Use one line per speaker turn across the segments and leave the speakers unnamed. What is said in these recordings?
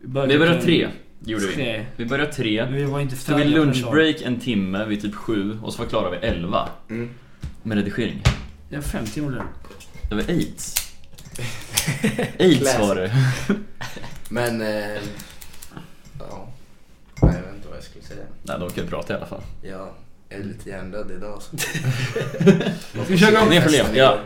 Burger
Vi började
King.
tre, gjorde vi.
Tre.
Vi började tre.
Vi var inte
Så vi
färdiga förrän då.
lunchbreak en timme vid typ sju och så var klara vid elva.
Mm.
Med redigering.
Det var fem timmar lunch.
Det var aids. Aids var det.
Men... Eh, ja. Nej, jag vet inte vad jag skulle säga.
Nej, de kan ju prata i alla fall.
Ja, jag är lite hjärndöd idag. Så.
Ska vi köra igång? Ner för lep, ja.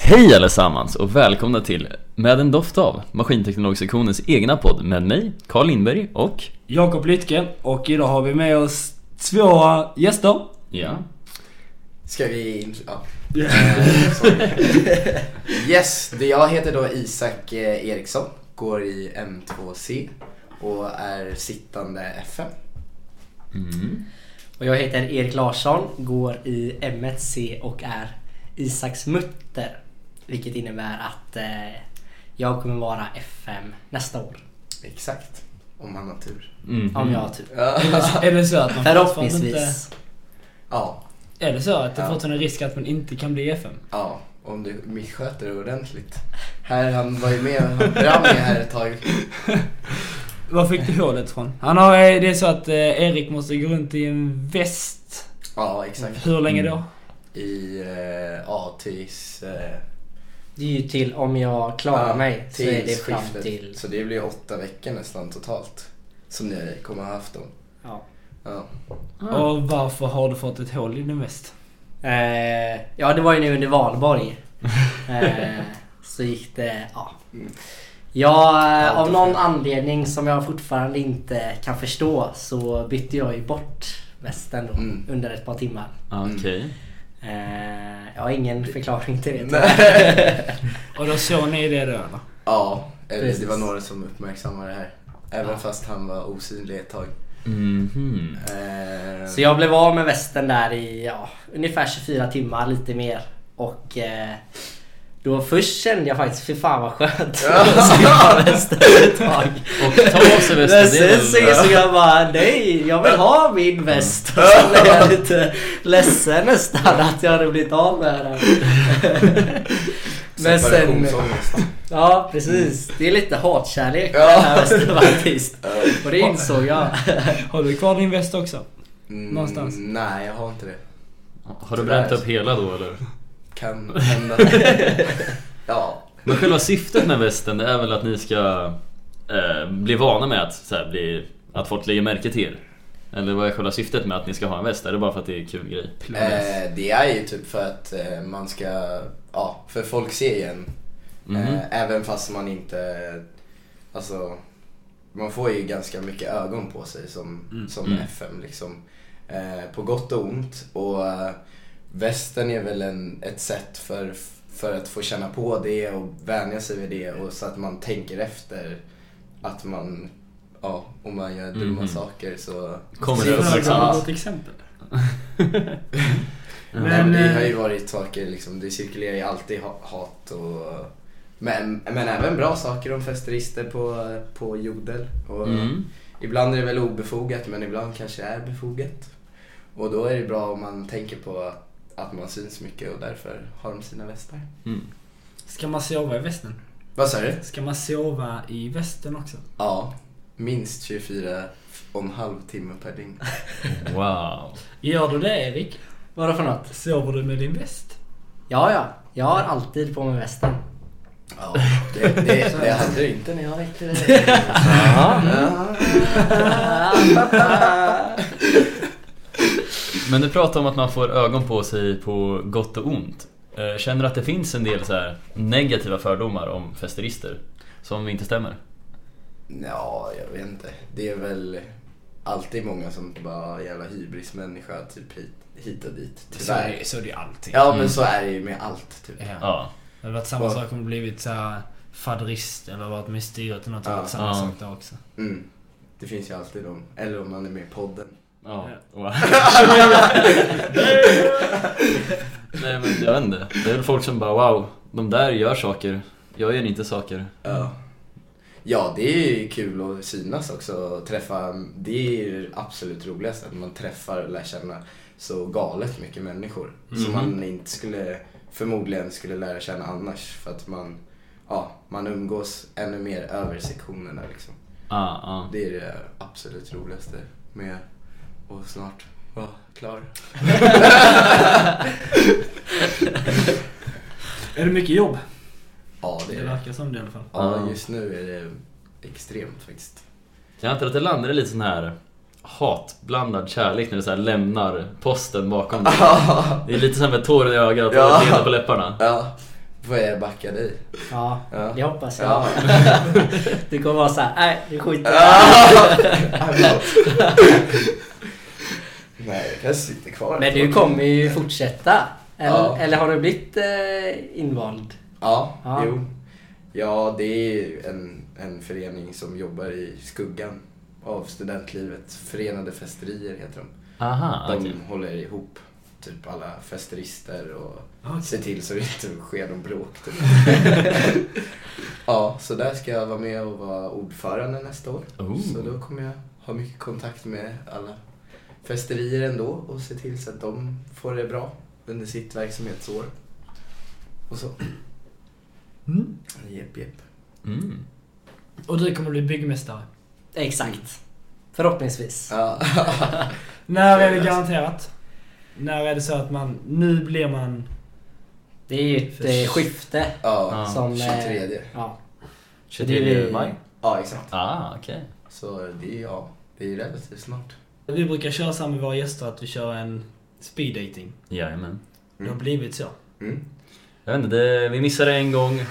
Hej allesammans och välkomna till Med en doft av Maskinteknologsektionens egna podd med mig, Carl Lindberg och
Jakob Lytken och idag har vi med oss två gäster.
Ja,
Ska vi... in- Ja. Eh, sorry. yes, det jag heter då Isak eh, Eriksson, går i M2C och är sittande F5.
Mm.
Och jag heter Erik Larsson, går i M1C och är Isaks mutter. Vilket innebär att eh, jag kommer vara F5 nästa år.
Exakt, om man har tur.
mm.
Om jag har tur.
Ja.
alltså, Är det så att man fortfarande inte...
Förhoppningsvis.
ja,
Är det så att det
Ja.
fortfarande är risk att man inte kan bli FM?
ja, om du missköter det ordentligt. Här, han var ju med, han brann ju här ett tag.
Var fick du hålet ifrån? Han har, eh, det är så att eh, Erik måste gå runt i en väst.
Ja, exakt.
Hur länge då?
Mm.
I, eh, ja, tills... Eh,
Det är ju till om jag klarar
Ja,
mig så är det fram
skiftet.
till...
Så det blir åtta veckor nästan totalt. Som ni kommer ha haft dem.
Ja.
Ja.
Ah.
Och varför har du fått ett hål i din väst?
Eh, ja, det var ju nu under valborg. Eh, så gick det... Ja. Jag, eh, av någon anledning som jag fortfarande inte kan förstå så bytte jag ju bort västen då
Mm.
under ett par timmar.
Ah, Okej.
Eh, jag har ingen förklaring till det.
Och då såg ni det då eller?
ja, eller det
Precis.
var några som uppmärksammade det här. Även fast han var osynlig ett tag.
Mhm.
Eh,
Så jag blev av med västen där i ja, ungefär 24 timmar, lite mer. Och eh, då först kände jag faktiskt, fy fan vad skönt. att slippa västen ett tag.
Och ta av sig
Men
västen, det
sen så
är
insåg
väl...
jag bara, nej, jag vill ha min väst. Och så blev jag lite ledsen nästan att jag hade blivit av med den. Men sen...
Separationsångest.
Ja, precis. Det är lite hatkärlek med
Ja.
den här västen faktiskt. Och det insåg jag.
Har du kvar din väst också?
Mm,
Någonstans.
Nej, jag har inte det.
Har du bränt upp hela då eller?
Kan hända. ja.
Men själva syftet med västen det är väl att ni ska eh, bli vana med att, så här, bli, att folk lägger märke till er? Eller vad är själva syftet med att ni ska ha en väst? Är det bara för att det är en kul grej?
Eh, det är ju typ för att eh, man ska, ja, för folk ser ju en.
Mhm.
Eh, även fast man inte, alltså, man får ju ganska mycket ögon på sig som, som
Mm.
FM liksom. Eh, på gott och ont. Och eh, västen är väl en, ett sätt för, för att få känna på det och vänja sig vid det och så att man tänker efter att man, ja, om man gör dumma
Mhm.
saker så
Kommer
Ser
det liksom?
du
liksom?
uppmärksammas?
något exempel?
Nej,
Men,
men det har ju
eh,
varit saker liksom, det cirkulerar ju alltid ha- hat och... Men, men även bra saker om festerister på, på jodel. Och
Mm.
Ibland är det väl obefogat men ibland kanske det är befogat. Och då är det bra om man tänker på att, att man syns mycket och därför har de sina västar.
Mm.
ska man sova i västen?
Vad sa du?
Ska man sova i västen också?
Ja, minst 24 och en halv timme per dygn.
Wow.
Gör du det Erik?
Vadå för något?
Sover du med din väst?
Ja, ja. Jag har alltid på mig västen.
Ja, det, det, det hade du inte när jag väckte dig. Ja.
Men du pratar om att man får ögon på sig på gott och ont. Eh, Känner du att det finns en del så här negativa fördomar om festerister? Som inte stämmer?
Ja, jag vet inte. Det är väl alltid många som bara jävla hybrismänniska typ hit, hit och dit. Tyvärr.
så Mm. är det ju allting.
Ja, men så är det ju med allt typ.
Ja.
Det hade varit samma
Och-
sak om det blivit såhär fadderist eller varit med i styret eller något. Det hade varit
Ja.
samma
Ja.
sak där också.
Mm. Det finns ju alltid de. Eller om man är med i podden.
Ja.
Ja.
Wow. Nej men jag vet inte. Det är väl folk som bara wow, de där gör saker. Jag gör inte saker.
Ja. Ja, det är ju kul att synas också och träffa. Det är ju det absolut roligaste, att man träffar och lär känna så galet mycket människor som man inte skulle, förmodligen skulle lära känna annars för att man, ja, man umgås ännu mer över sektionerna liksom.
Ah, ah.
Det är det absolut roligaste med och snart vara klar.
Är det mycket jobb?
Ja, det
Det
är det.
verkar som det i alla fall.
Ja, just nu är det extremt faktiskt.
Jag antar att det landar i lite sån här hatblandad kärlek när du så här lämnar posten bakom dig. Det är lite som med tårar i ögat och
Ja.
ett leende på läpparna.
Ja, vad är jag backad i?
Ja,
Ja.
det hoppas jag.
Ja.
Du kommer vara såhär, nej nu skiter jag
Nej, jag sitter kvar.
Men du kommer ju fortsätta. Eller,
Ja.
eller har du blivit eh, invald?
Ja,
Ja.
jo. Ja, det är ju en, en förening som jobbar i skuggan av studentlivet. Förenade Festerier heter de.
Aha,
De
okej.
håller ihop typ alla festerister och
Okej.
ser till så det inte sker någon bråk. Typ. ja, så där ska jag vara med och vara ordförande nästa år.
Oh.
Så då kommer jag ha mycket kontakt med alla festerier ändå och se till så att de får det bra under sitt verksamhetsår. Och så.
Mm.
Jep, jep.
Mm.
Och du kommer bli byggmästare?
Exakt. Förhoppningsvis.
Ja.
När är det garanterat? När är det så att man... Nu blir man...
Det är ju ett eh, skifte.
ja.
Ja,
Som, eh,
23.
Ja. Så det är
23
vi-
maj?
Ja, exakt.
Ah, okej.
Så det är, ja, det är relativt snart.
Vi brukar köra så här med våra gäster att vi kör en speed dating.
Jajamän.
Det har blivit så.
Mm.
Jag vet inte, det, vi missade en gång. eh,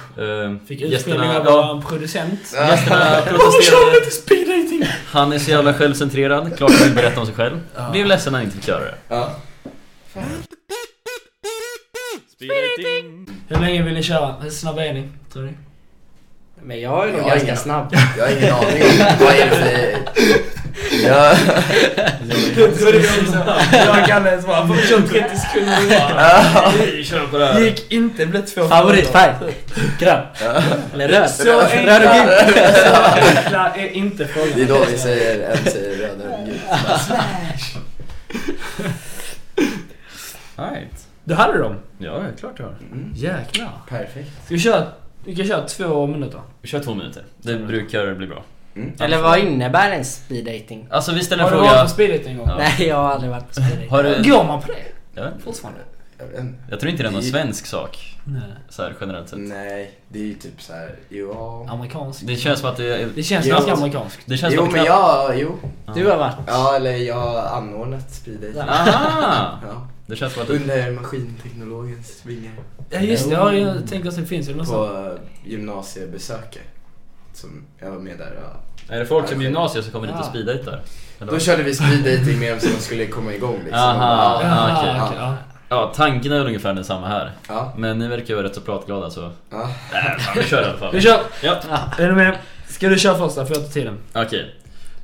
Fick
gästerna-
utskällning av
ja,
vår producent.
Gästerna
Varför kör vi
protesterade.
inte speed dating?
Han är så jävla självcentrerad. Klart han vill berätta om sig själv.
Ja.
Blev ledsen när han inte fick göra det.
Ja.
Hur länge vill ni köra? Hur snabba är ni? Tror ni?
Men jag är nog
Jag är
ganska
ingen-
snabb.
Jag har ingen aning om vad är det för... Ja.
Jag kan ens vara på 30 sekunder
Vi kör på det här.
Gick inte blev två
Favoritfärg? Grön? Eller röd?
Så enkla,
röd och gul?
så enkla är inte frågan.
Det är då vi säger en säger röd och en gul.
Right.
Det hade de.
Ja, det är klart jag har.
Mm.
Jäklar.
Perfekt.
Ska vi köra, vi kan köra två minuter?
Vi kör två minuter. Det brukar bli bra.
Mm.
Eller vad innebär en speed dating?
Alltså vi ställer
Har
en
du varit
fråga.
på speedet en gång?
Ja.
Nej, jag har aldrig varit på speed dating.
Har du...
Går man på det
Jag, vet inte.
fortfarande?
Jag vet inte.
jag tror inte det är någon
Vi-
svensk sak.
Nej.
Så här generellt sett.
Nej, det är ju typ så här. Ja.
Amerikansk.
Det känns som att det är...
Det känns
Jo.
ganska amerikanskt.
Det känns
Jo
som att
men jag, jo.
Du har varit?
Ja eller jag har anordnat speeddejt.
Aha!
Ja.
Det känns som att det...
Under maskinteknologens vingar.
Ja just det, ja, jag tänker att det finns ju något sånt.
På gymnasiebesöket. Som jag var med där. Ja.
Är det folk som gymnasiet som kommer dit och
Ja.
speeddejtar? Eller
Då
vad?
körde vi speeddating med dem så de skulle komma igång liksom.
Aha.
Ja.
Ah, okej.
Jaha, okej, ja.
Ja, tanken är väl ungefär densamma här.
Ja.
Men ni verkar ju rätt så pratglada så...
ja.
Äh, fan, vi kör i alla fall.
Vi kör!
Ja.
Är du med? Ska du köra första? Får jag ta tiden?
Okej.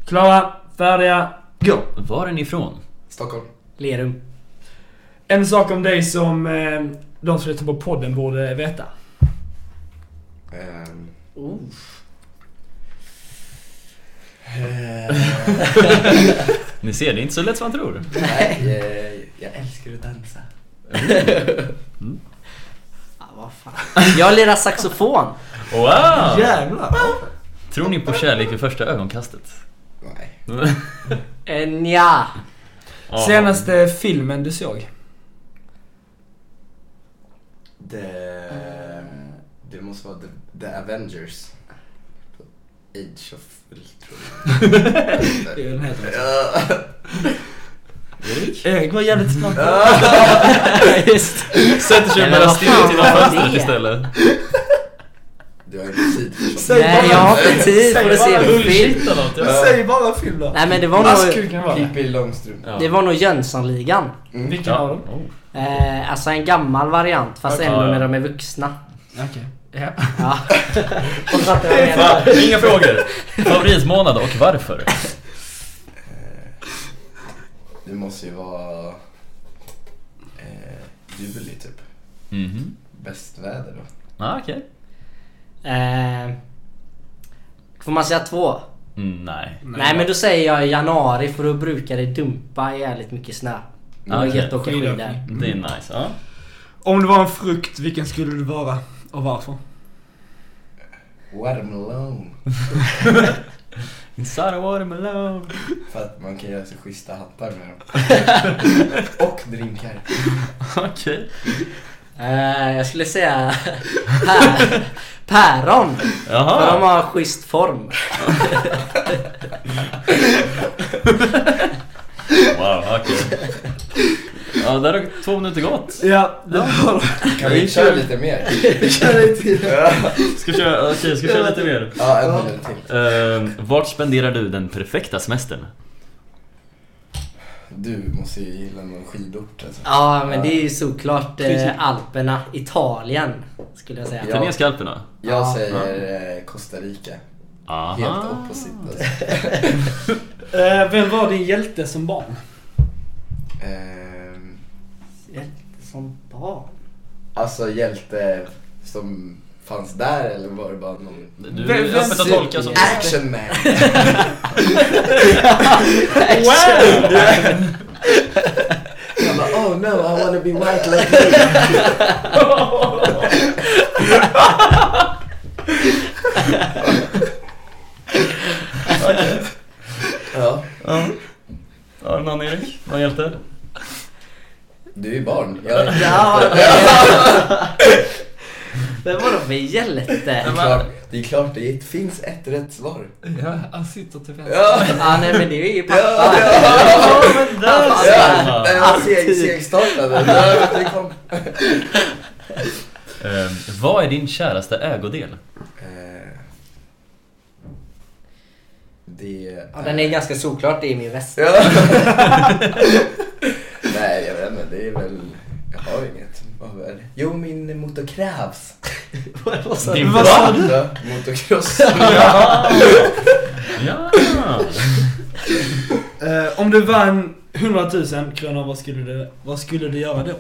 Klara, färdiga, gå!
Var är ni ifrån?
Stockholm.
Lerum.
En sak om dig som eh, de som lyssnar på podden borde veta.
Ehm,
Oh.
eh,
Ni ser, det är inte så lätt som man tror.
nej, eh, jag älskar att dansa.
Mm.
Ja, Ah, vad fan. Jag lirar saxofon.
Wow!
Jävlar!
Tror ni på kärlek vid första ögonkastet?
Nej.
Eh, Nja.
Ja.
Senaste filmen du såg?
Det, det måste vara The, the Avengers. Age of Ultron.
Det är den heter.
Ja.
Erik var jävligt snabb.
Just.
Sätter sig
Eller
bara
vad
still
fan
till
var
fönstret
det?
istället.
Du har inte tid för sånt.
Säg
Nej, jag har inte tid
Säg
för att se
bara
en film.
Bullshit eller något. ja.
Säg bara film då!
Nej men det var nog,
Askkuken var det.
Pippi Långstrump.
Ja.
det var nog Jönssonligan.
Mm.
Vilken av
Ja.
dem?
Oh.
Eh, alltså en gammal variant fast
Okej.
ändå
Ja, ja.
när de är vuxna.
Okej. Ja.
Ja. Och så att jag
Fan,
menar,
Inga frågor! Favoritmånad och varför?
Du måste ju vara eh, juli typ.
Mhm.
Bäst väder då.
Ah, okej.
Eh, får man säga två?
Mm, nej.
Nej, men då säger jag i januari för då brukar det dumpa jävligt mycket snö. Det var
Ah, Okej.
gött att åka skidor.
Skidåkning.
Det är nice. Ja.
Om du var en frukt, vilken skulle du vara? Och varför?
Watermelon.
Inside a watermelon.
För att man kan göra så schyssta hattar med dem. Och drinkar.
Okej.
Eh, jag skulle säga pär, päron. För de
Jaha.
har schysst form.
Wow, okej. Ja, där har två minuter gått.
Ja, det var
Kan vi köra lite mer?
Ska vi köra, okej, ska vi köra lite mer?
Ja, en minut till.
Uh, vart spenderar du den perfekta semestern?
Du måste ju gilla någon skidort alltså.
Ja men det är ju såklart
Precis.
eh, Alperna, Italien skulle jag säga.
Ja.
Italienska alperna?
Jag säger eh, Costa Rica. Helt
Aha.
opposite alltså.
eh, Vem var din hjälte som barn?
Ehm,
Hjälte Som barn.
Alltså hjälte som fanns där eller var det bara någon...
Du
Vem-
är
vem
öppet att
ser-
tolka som...
Action man!
Wow!
Jag bara, oh no I wanna be white like you. Ja,
Har du någon Erik? Någon hjälte?
du är ju barn. Jag är
Ja, Vem var de för
Det är
hjälte?
klart, det, är klart det finns ett rätt svar.
Ja, han sitter till vänster.
Ja!
Ja nej men det är
Ja,
ju pappa.
ja,
men
där ser
ja.
man.
Den var seg- segstartad. Den där, den kom.
Ehm, Vad är din käraste ägodel?
Eh, Det...
Ja, den är ganska såklart det är min väst.
Ja. Nej, jag vet inte. Det är väl... Jag har inget. Vad är det? Jo, min motocross.
Vad sa
Din
du?
Vad sa du?
Ja, motocross.
Ja! ja.
Eh, om du vann 100 000 kronor, vad skulle du, vad skulle du göra då?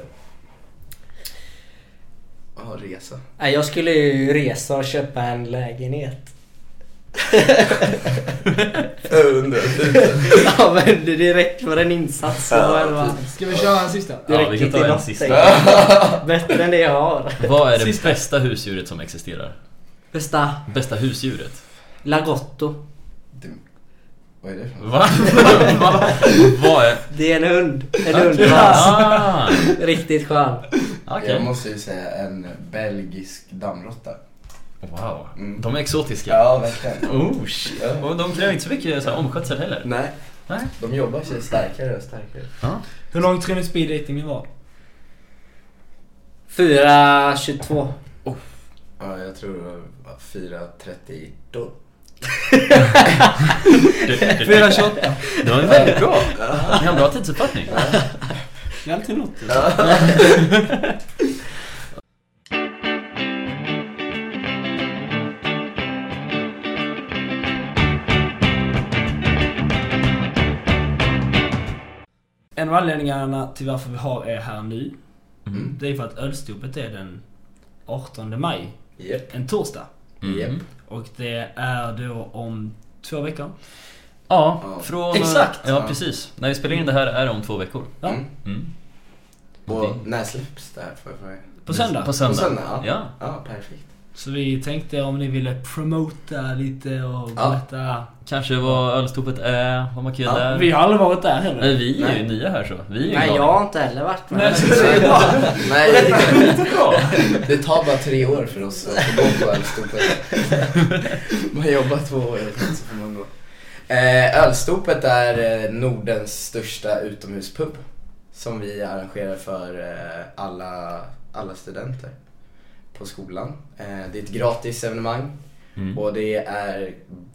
Ja, resa.
Nej, Jag skulle ju resa och köpa en lägenhet.
100
Ja men det är direkt för en insats. Så
Ja,
det var-
Ska vi köra en sista?
det
Ja, vi
räcker
kan ta
till
en
något.
sista.
tänker jag. Bättre än det jag har.
Vad är det
Sista.
bästa husdjuret som existerar?
Bästa
Bästa husdjuret?
Lagotto.
Vad är det för något?
Va? Va? Vad är...
Det är en hund. En hundras.
Ah,
Riktigt skön.
Okej.
Jag måste ju säga en belgisk dammråtta.
Wow.
Mm.
De är exotiska.
Ja, verkligen.
Oh shit.
Ja.
Och de kräver inte så mycket så här, omskötsel heller.
Nej.
Nej.
De jobbar sig starkare och starkare.
Hur lång tror ni speeddatingen var?
4.22.
Ja, jag tror det var 4.30 då.
Du- du-
428.
Det var väldigt bra. Ni har en bra tidsuppfattning.
Det är alltid något. En av anledningarna till varför vi har er här nu,
Mm.
det är för att ölstopet är den 18 maj,
Japp.
en torsdag.
Mm.
Japp.
Och det är då om två veckor.
Ja,
Ja.
från...
Exakt.
Ja,
Ja.
precis. När vi spelar in det här är det om två veckor.
Ja.
Mm.
Mm.
Och när släpps det här? Får jag fråga?
På söndag.
På
På
söndag.
söndag? Ja.
Ja.
Ja, perfekt.
Så vi tänkte om ni ville promota lite och
Ja.
berätta.
Kanske vad ölstopet är, vad man kan göra
Ja,
där.
Vi har aldrig varit där heller.
Nej, vi är ju
Nej.
nya här så. Vi är ju
Nej
glada.
jag har inte heller varit med.
Nej, så-
Nej, det tar bara tre år för oss att få gå på ölstopet. Man jobbar två år så får man gå. Eh, ölstopet är eh, Nordens största utomhuspub som vi arrangerar för eh, alla, alla studenter på skolan. Eh, det är ett gratis evenemang
Mm.
Och det är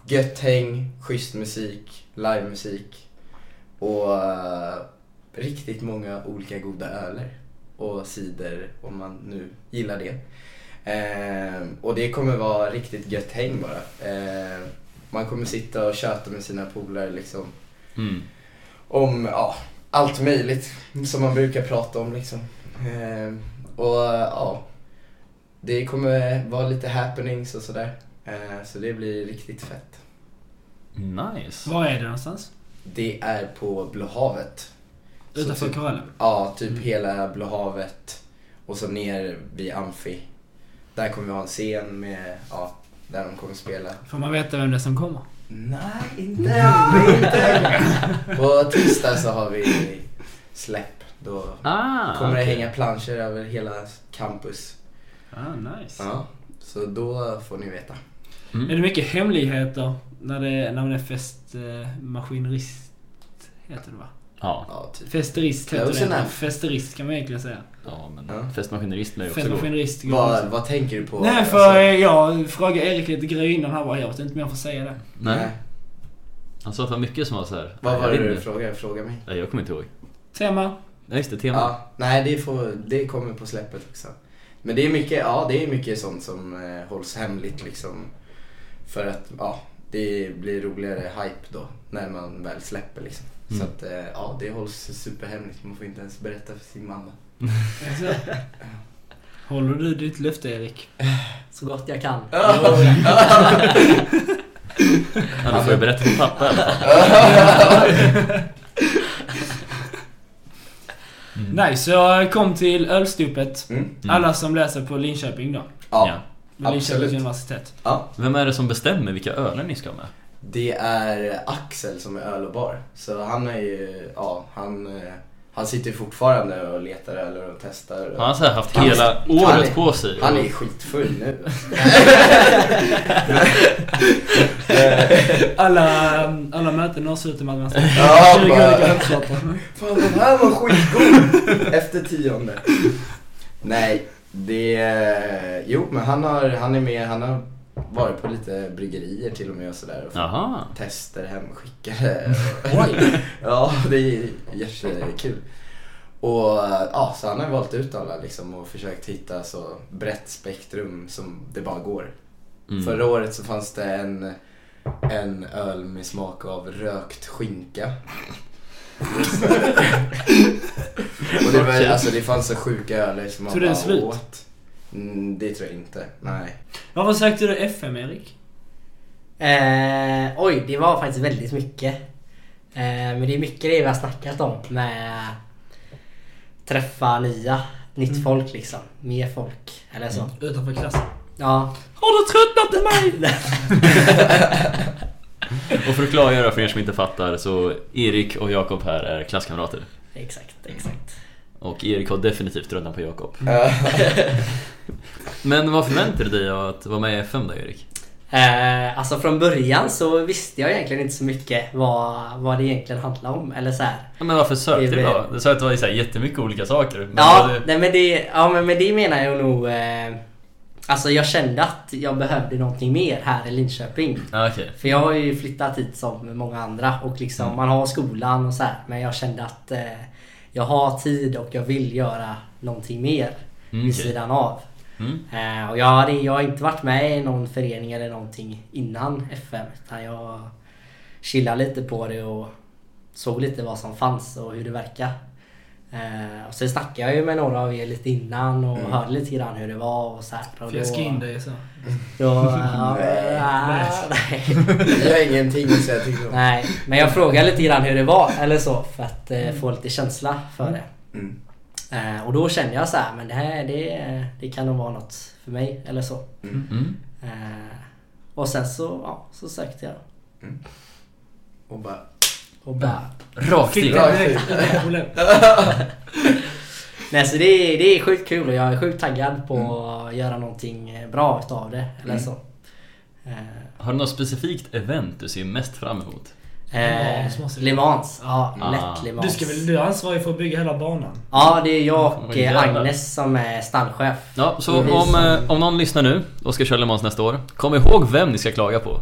gött häng, schysst musik, livemusik och eh, riktigt många olika goda öler och cider om man nu gillar det. Eh, och det kommer vara riktigt gött häng bara. Eh, man kommer sitta och köta med sina polare liksom
Mm.
om ja, allt möjligt som man brukar prata om liksom. Eh, och ja, det kommer vara lite happenings och sådär. Eh, så det blir riktigt fett.
Nice.
Var är det någonstans?
Det är på Blå havet. Så
Utanför
typ-
korallen?
Ja, typ
Mm.
hela Blå havet och så ner vid Amfi. Där kommer vi ha en scen med, ja, där de kommer spela.
Får man veta vem det är som kommer?
Nej, inte än, inte än. På tisdag så har vi släpp. Då
Ah,
kommer det
okej.
hänga planscher över hela campus.
Ah, nice.
Ja, så då får ni veta.
Mm.
Är det mycket hemligheter när, det, när man är festmaskinerist? heter det va?
Ja,
Ja, typ.
Festerist
Close
heter det.
enough.
Festerist kan man egentligen säga.
ja men
Ja.
festmaskinerist lär ju också gå.
Festmaskinerist. går
Vad,
också.
vad tänker du på?
Nej,
Alltså,
för jag frågade Erik lite grejer innan. Han bara, jag vet inte om jag får säga det.
Nej, han sa att det var mycket som var så här.
Vad
jag
var det
vet
du
inte.
frågade? Fråga mig.
Nej, jag kommer inte ihåg.
Tema.
Nej, just det. Tema.
Ja, nej, det, får, det kommer på släppet också. Men det är mycket, ja, det är mycket sånt som eh, hålls hemligt liksom. För att ja, det blir roligare hype då när man väl släpper liksom. Så
Mm.
att eh, ja, det hålls superhemligt. Man får inte ens berätta för sin mamma.
Alltså. Håller du ditt löfte Erik?
Så gott jag kan.
Ja, du får ju berätta för pappa i alla fall.
Nej, så jag kom till Ölstupet.
Mm.
Mm.
Alla som läser på Linköping då.
Ja,
Men Linköpings
Absolut.
universitet.
ja.
Vem är det som bestämmer vilka öler ni ska ha med?
Det är Axel som är öl och bar. Så han är ju, ja, han, eh, han sitter fortfarande och letar öl och testar.
Har han så här haft
Han-
hela
han
året
är-
på sig?
Han är skitfull nu.
Alla, alla möten avslutar med att man ska
Ja,
20
bara-
olika ölsorter.
Fan den här var skitgod! Efter tionde. Nej, det... eh, Jo men han, har, han är med, han har varit på lite bryggerier till och med och sådär. Och fått
Jaha.
tester hemskickade. ja, det är jättekul. Och ja, så han har valt ut alla liksom och försökt hitta så brett spektrum som det bara går.
Mm.
Förra året så fanns det en, en öl med smak av rökt skinka. och det, var, alltså, det fanns så sjuka öler som man
Tog den
bara
slut?
åt. Mm, det tror jag inte. Nej.
Varför sökte du FM Erik?
Eh, oj, det var faktiskt väldigt mycket. Eh, men det är mycket det vi har snackat om med träffa nya, nytt folk liksom. Mer folk eller så.
Mm.
Utanför klassen.
Ja.
Har du tröttnat på mig?
Och för att klargöra för er som inte fattar så Erik och Jakob här är klasskamrater.
Exakt, exakt.
Och Erik har definitivt rödan på Jakob. Men vad förväntar du dig av att vara med i FM då Erik?
Eh, alltså från början så visste jag egentligen inte så mycket vad, vad det egentligen handlar om. Eller så här.
Ja, men varför sökte
Det
du
är
då?
väl-
Du sa att det var så här jättemycket olika saker. Men
Ja,
vad du-
nej, men det, ja men med det menar jag nog... Eh, alltså jag kände att jag behövde någonting mer här i Linköping.
Ja, okej.
För jag har ju flyttat hit som många andra och liksom
Mm.
man har skolan och så här. Men jag kände att eh, jag har tid och jag vill göra någonting mer
Mm,
vid
okej.
sidan av.
Mm.
Eh, och jag, hade, jag har inte varit med i någon förening eller någonting innan FM. Utan jag chillade lite på det och såg lite vad som fanns och hur det verkar. Eh, och så snackade jag ju med några av er lite innan och
Mm.
hörde lite grann hur det var och så här. Och
Fjäska in dig så.
Då, ja,
Nej.
nej.
Jag har ingenting att säga till om.
Nej, men jag frågade lite grann hur det var eller så för att eh,
Mm.
få lite känsla för det.
Mm.
Eh, och då kände jag så här, men det här det, det kan nog vara något för mig eller så.
Mm.
Eh, och sen så, ja, så sökte jag
Och bara...
och bara...
Rakt
Fick
in.
den direkt. Inga problem.
Nej, så det, är- det är sjukt kul och jag är sjukt taggad på
Mm.
att göra någonting eh, bra utav det eller så. Eh,
Har du något specifikt event du ser mest fram emot?
Eh,
Limans måste vi-
Le Mans, ja,
Ah.
lätt Le Mans.
Du, ska väl, du är ansvarig för att bygga hela banan?
Ja, det är jag och
Oj,
eh,
jävlar.
Agnes som är stallchef.
Ja, så
Mm.
om, eh, om någon lyssnar nu och ska köra Le Mans nästa år, kom ihåg vem ni ska klaga på.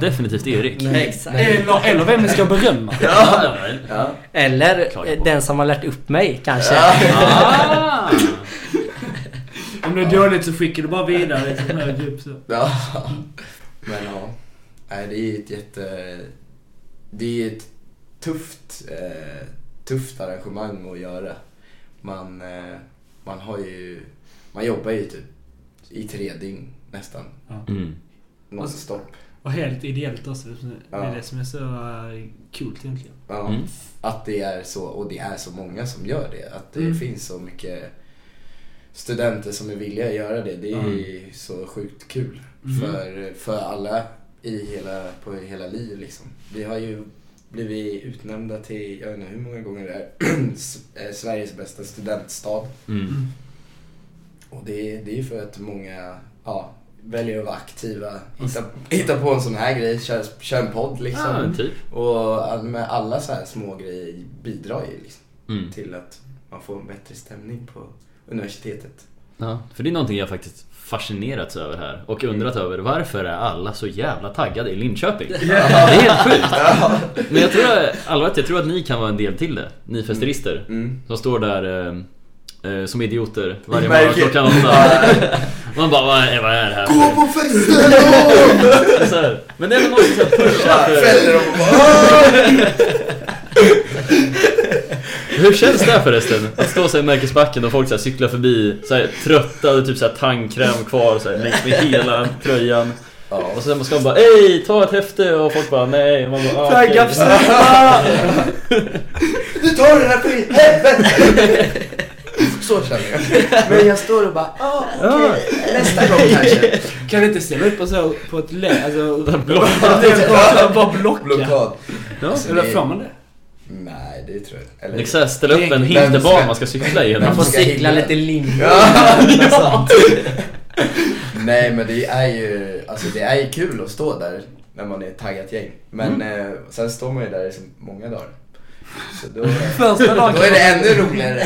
Definitivt Erik.
Exakt.
Eller, eller vem ni ska berömma?
Ja, ja, ja.
Ja.
Eller
Klaga
eh,
på.
den som har lärt upp mig kanske.
Ah!
Om det är dåligt så skickar du bara vidare. Liksom, hög upp, så.
Ja. Men ja. Nej, det är ju ett jätte... Det är ju ett tufft eh, tufft arrangemang att göra. Man, eh, man har ju, man jobbar ju typ i tre dygn nästan.
Mm.
Nonstop.
Och helt ideellt också. Det
Ja.
är det som är så eh, coolt egentligen.
Ja,
Mm.
Att det är så, och det är så många som gör det. Att det
Mm.
finns så mycket studenter som är villiga att göra det. Det är
Mm.
så sjukt kul
Mm.
för, för alla i hela, på hela liv liksom. Vi har ju blivit utnämnda till, jag vet inte hur många gånger det är, S- eh, Sveriges bästa studentstad.
Mm.
Och det, är- det är ju för att många ja, väljer att vara aktiva, hitta, hitta på en sån här grej, köra kör en podd liksom.
Ja, typ.
Och all- med alla så här små grejer bidrar ju liksom
Mm.
till att man får en bättre stämning på universitetet.
Ja, för det är någonting jag faktiskt fascinerats över här och undrat över varför är alla så jävla taggade i Linköping? Det är helt sjukt! Men jag tror, allvarligt, jag tror att ni kan vara en del till det, ni festerister.
Mm.
Som står där eh, eh, som idioter varje
I
morgon
märket.
klockan åtta. Man bara, vad är, vad är det här? för-
på festen!
Så här. Men det är väl någon som pushar för,
Fäller dem och bara,
Hur känns det här förresten? Att stå så här i märkesbacken och folk så här cyklar förbi så här, trötta och typ så här tandkräm kvar så här, längs med hela tröjan.
Ja.
Och sen ska man bara Ej, ta ett häfte och folk bara nej. Man bara, ah, okej.
Du tar den här för i helvete! Så känner jag. Men jag står och bara, ah, okej, nästa gång kanske.
Kan vi inte ställa upp oss så på ett lä... Alltså...
Blocka.
Bara blocka.
Blockad.
Ja.
Alltså,
Eller
det-
får man det?
Nej, det tror jag Eller-
Exakt, ställa upp en
Vem
hinderbana
ska-
man ska cykla igenom.
Man får
ska
cykla
hindra.
lite linjer.
Ja.
Det är sant.
Nej men det är ju, alltså det är ju kul att stå där när man är ett taggat gäng. Men eh, sen står man ju där i så många dagar. Så då,
Första dagen.
då är det ännu roligare.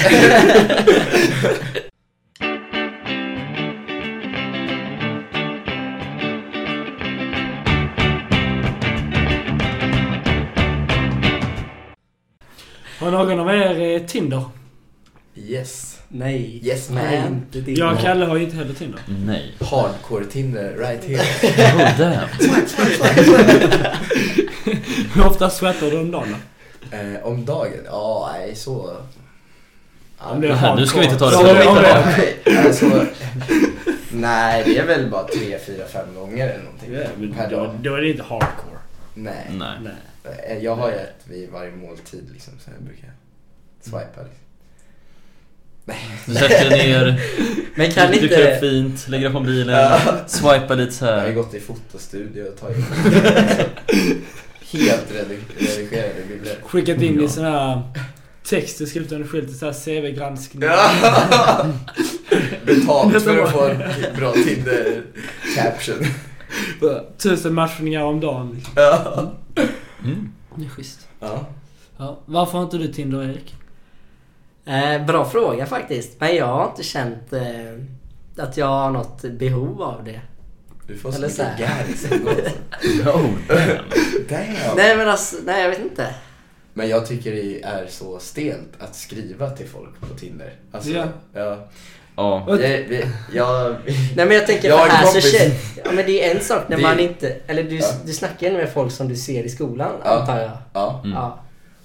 Har någon av er eh, Tinder?
yes.
Nej.
Yes, man.
Nej, inte det.
Jag och Kalle har ju inte heller Tinder.
Nej.
Hardcore Tinder right here.
Oh, damn.
Hur ofta sweatar du om dagen då?
Eh, om dagen? Ja, nej så. Ja,
Om det är
här, nu ska vi inte ta det
hardcore.
så
Ja,
långt.
om det-
nej, alltså, nej, det är väl bara tre, fyra, fem gånger eller någonting
Ja, men
per
då,
dag.
då är det inte hardcore.
Nej.
Nej.
Nej.
Eh, Jag har ju ett vid varje måltid liksom, så jag brukar swipa liksom.
Du sätter dig ner,
Men kan
du klär upp
inte...
fint, lägger dig på bilen, swipar lite så
Jag har ju
här.
gått i fotostudio och tagit helt redig- redigerade bilder.
Skickat in
Ja.
i såna här eh, texter skrivet under skylt, såhär CV-granskning.
Betalt för att få en bra Tinder-caption.
Tusen matchningar om dagen. liksom.
Ja.
Mm.
Det är schysst.
Ja.
Ja. Varför har inte du Tinder, Erik?
Eh, bra fråga faktiskt. Men jag har inte känt eh, att jag har något behov av det.
Du får så
Eller så
mycket
här.
gags ändå.
Oh, damn.
Damn.
Nej men alltså, nej jag vet inte.
Men jag tycker det är så stelt att skriva till folk på Tinder. Alltså,
Ja.
ja.
Ja.
Jag, jag, jag,
Nej men jag tänker
Jag har
för
en
här så
kompis.
känner... Ja men det är en sak när
Det-
man inte... Eller du,
Ja.
du snackar ju med folk som du ser i skolan
Ja. Mm.
antar jag.
ja.
Ja.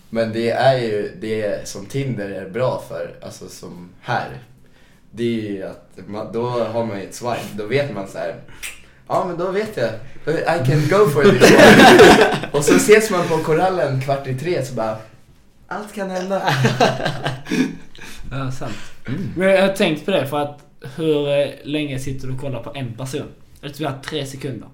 Men det är ju det som Tinder är bra för, alltså som här. Det är ju att man, då har man ju ett swipe, då vet man så här. Ja men då vet jag, I can go for this one. Och så ses man på korallen kvart i tre så bara, allt kan hända.
Ja, sant.
Mm.
Men jag har tänkt på det för att hur eh, länge sitter du och kollar på en person? Jag tror vi har tre sekunder.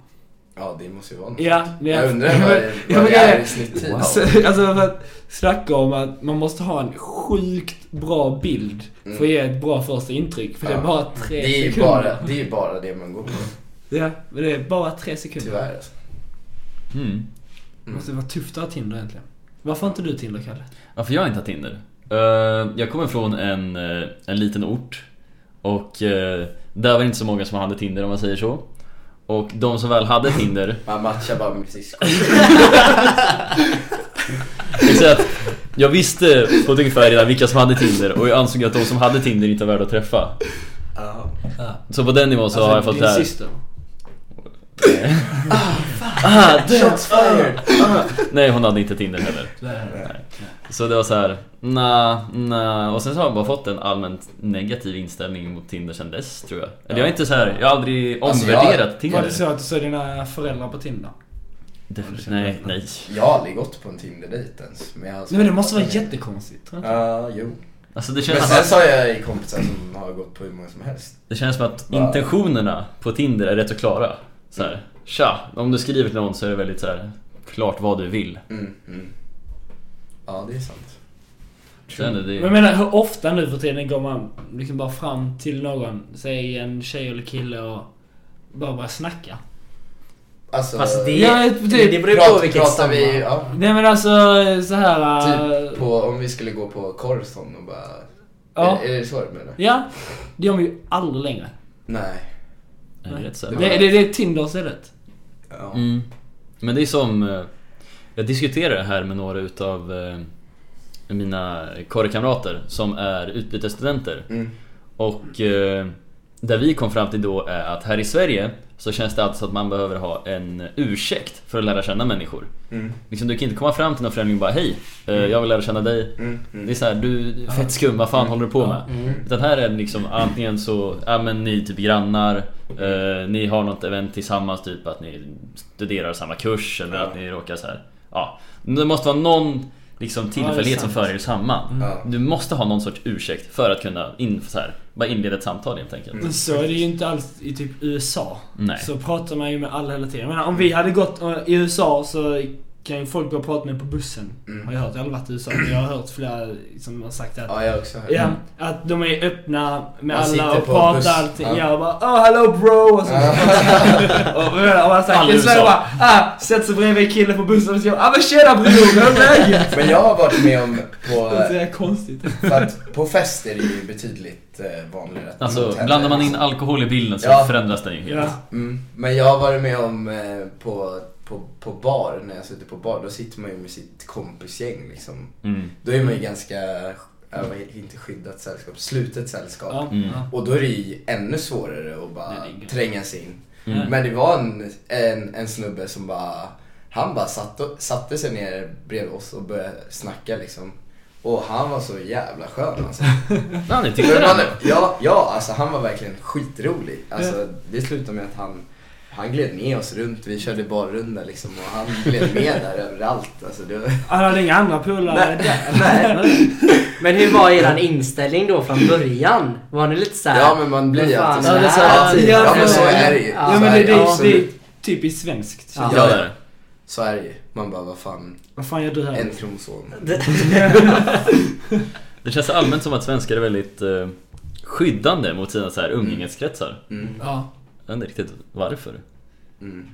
Ja det måste ju vara något.
Ja, men
Jag undrar
Ja,
vad
men-
det,
ja,
vad
men
det är
det-
i snitttid.
Alltså, alltså för att snacka om att man måste ha en sjukt bra bild för att ge ett bra första intryck. För det är
Ja.
bara tre
Det är ju
sekunder.
bara det, är ju bara det man går på,
Ja, men det är bara tre sekunder.
tyvärr. Alltså.
Mm.
Det måste vara tufft att ha Tinder egentligen. Varför har inte du Tinder, Kalle?
Varför jag inte har Tinder? Eh, jag kommer från en, eh, en liten ort och eh, där var det inte så många som hade Tinder om man säger så. Och de som väl hade Tinder
Man matchar bara med syskon.
Jag säger att jag visste på ett ungefär redan vilka som hade Tinder och jag ansåg att de som hade Tinder inte var värda att träffa.
Ja.
Så på den nivån så
Alltså,
har jag fått
Alltså, din
det här.
syster.
Ah, det-
Shots fired!
Ah, Nej hon ah. hade inte Tinder heller.
Det här.
Så det var så här, na, na. Och sen så har jag bara fått en allmänt negativ inställning mot Tinder sen dess tror jag. Eller jag är inte så här, jag har aldrig
Alltså,
omvärderat
jag-
Var
Tinder.
det så att du såg dina föräldrar på Tinder?
Definitivt- nej, nej.
Jag har aldrig gått på en Tinder-dejt ens. Men, jag har
Nej men det måste vara jättekonstigt. tror jag.
Ja, jo.
Alltså det
Men
känns,
sen så har jag ju kompisar som har gått på hur många som helst.
det känns som att
Ja.
intentionerna på Tinder är rätt så klara. Så här, tja, om du skriver till någon så är det väldigt så här klart vad du vill.
Mm, mm. Ja, det är sant.
Så ändå det
Men jag menar hur ofta nu för tiden går man liksom bara fram till någon, säg en tjej eller kille och bara börjar snacka.
Alltså,
Fast det,
Ja, det-
det beror på
pratar,
vilket
pratar vi,
sammanhang.
ja,
Nej men alltså så här... äh,
typ på, om vi skulle gå på Corson och bara...
Ja.
Är, är det så du menar?
Ja, det gör man ju aldrig längre.
Nej.
är rätt så här.
Det, det, det är Tinder istället.
Ja.
Mm. Men det är som... eh, Jag diskuterar det här med några utav eh, mina kårkamrater som är utbytesstudenter.
Mm.
Och eh, där vi kom fram till då är att här i Sverige så känns det alltså att man behöver ha en ursäkt för att lära känna människor.
Mm.
Liksom, du kan inte komma fram till någon främling och bara hej, eh, jag vill lära känna dig.
Mm.
Det är såhär, du är fett skum, vad fan håller du på med?
Mm.
Utan här är det liksom antingen så, ja men ni är typ grannar, eh, ni har något event tillsammans, typ att ni studerar samma kurs eller
Ja.
att ni råkar så här. Ja. Det måste vara någon liksom
Ja, det är
tillfällighet som
sant.
för er samman.
Ja.
Du måste ha någon sorts ursäkt för att kunna in, så här, bara inleda ett samtal helt enkelt.
Mm.
Mm.
Men så är det ju inte alls i typ USA.
Nej.
Så pratar man ju med alla hela tiden. Jag menar, om vi hade gått eh, i USA så kan ju folk gå och prata med på bussen. Har jag hört. Jag har aldrig varit i USA men jag har hört flera som har sagt att
Mm. Ja, jag har också hört.
Ja, att de är öppna med
Man
alla
sitter
och
på buss.
pratar allting.
Ja.
Ja, och bara oh, hello bro” och så. och, och, och man
Alla
säger,
i
så jag
USA.
bara ah, sätter sig bredvid en kille på bussen och säger ”Ah men tjena bror, hur är läget?”
Men jag har varit med om på...
Det är så jävla konstigt.
För att på fest är det ju betydligt eh, vanligare att
Alltså,
tänder.
blandar man in alkohol i bilden så
Ja.
förändras den ju helt.
Ja.
Mm. Men jag har varit med om eh, på, på, på bar, när jag sitter på bar, då sitter man ju med sitt kompisgäng liksom.
Mm.
Då är man ju ganska, ja, vad heter- inte skyddat sällskap, slutet sällskap.
Ja,
Mm.
ja.
Och då är det ju ännu svårare att bara
Det ligger.
tränga sig in.
Mm.
Men det var en, en, en snubbe som bara, han bara satt och, satte sig ner bredvid oss och började snacka liksom. Och han var så jävla skön alltså.
Ja, ni tyckte
Men man,
det?
ja, ja, alltså han var verkligen skitrolig. Alltså, det slutade med att han, han gled med oss runt, vi körde barrunda liksom och han gled med där överallt. Alltså, det var,
Han hade inga andra polare där.
nej.
Men hur var eran inställning då från början? Var ni lite såhär...
Ja men man blir ju
Vad fan,
Alltså,
alltid
ja,
så
det är så
här.
här-
Ja
Ja,
men så är Alltså, det ju.
Ja,
Så
men
är
det, det, det är
absolut.
typiskt svenskt.
Ja.
Ja, det är det.
Så är det ju. Man bara, vad fan,
Vad fan gör du här?
en kromson.
Det känns allmänt som att svenskar är väldigt eh, skyddande mot sina så här umgängeskretsar.
Mm,
Ja.
Jag vet inte riktigt varför.
mm.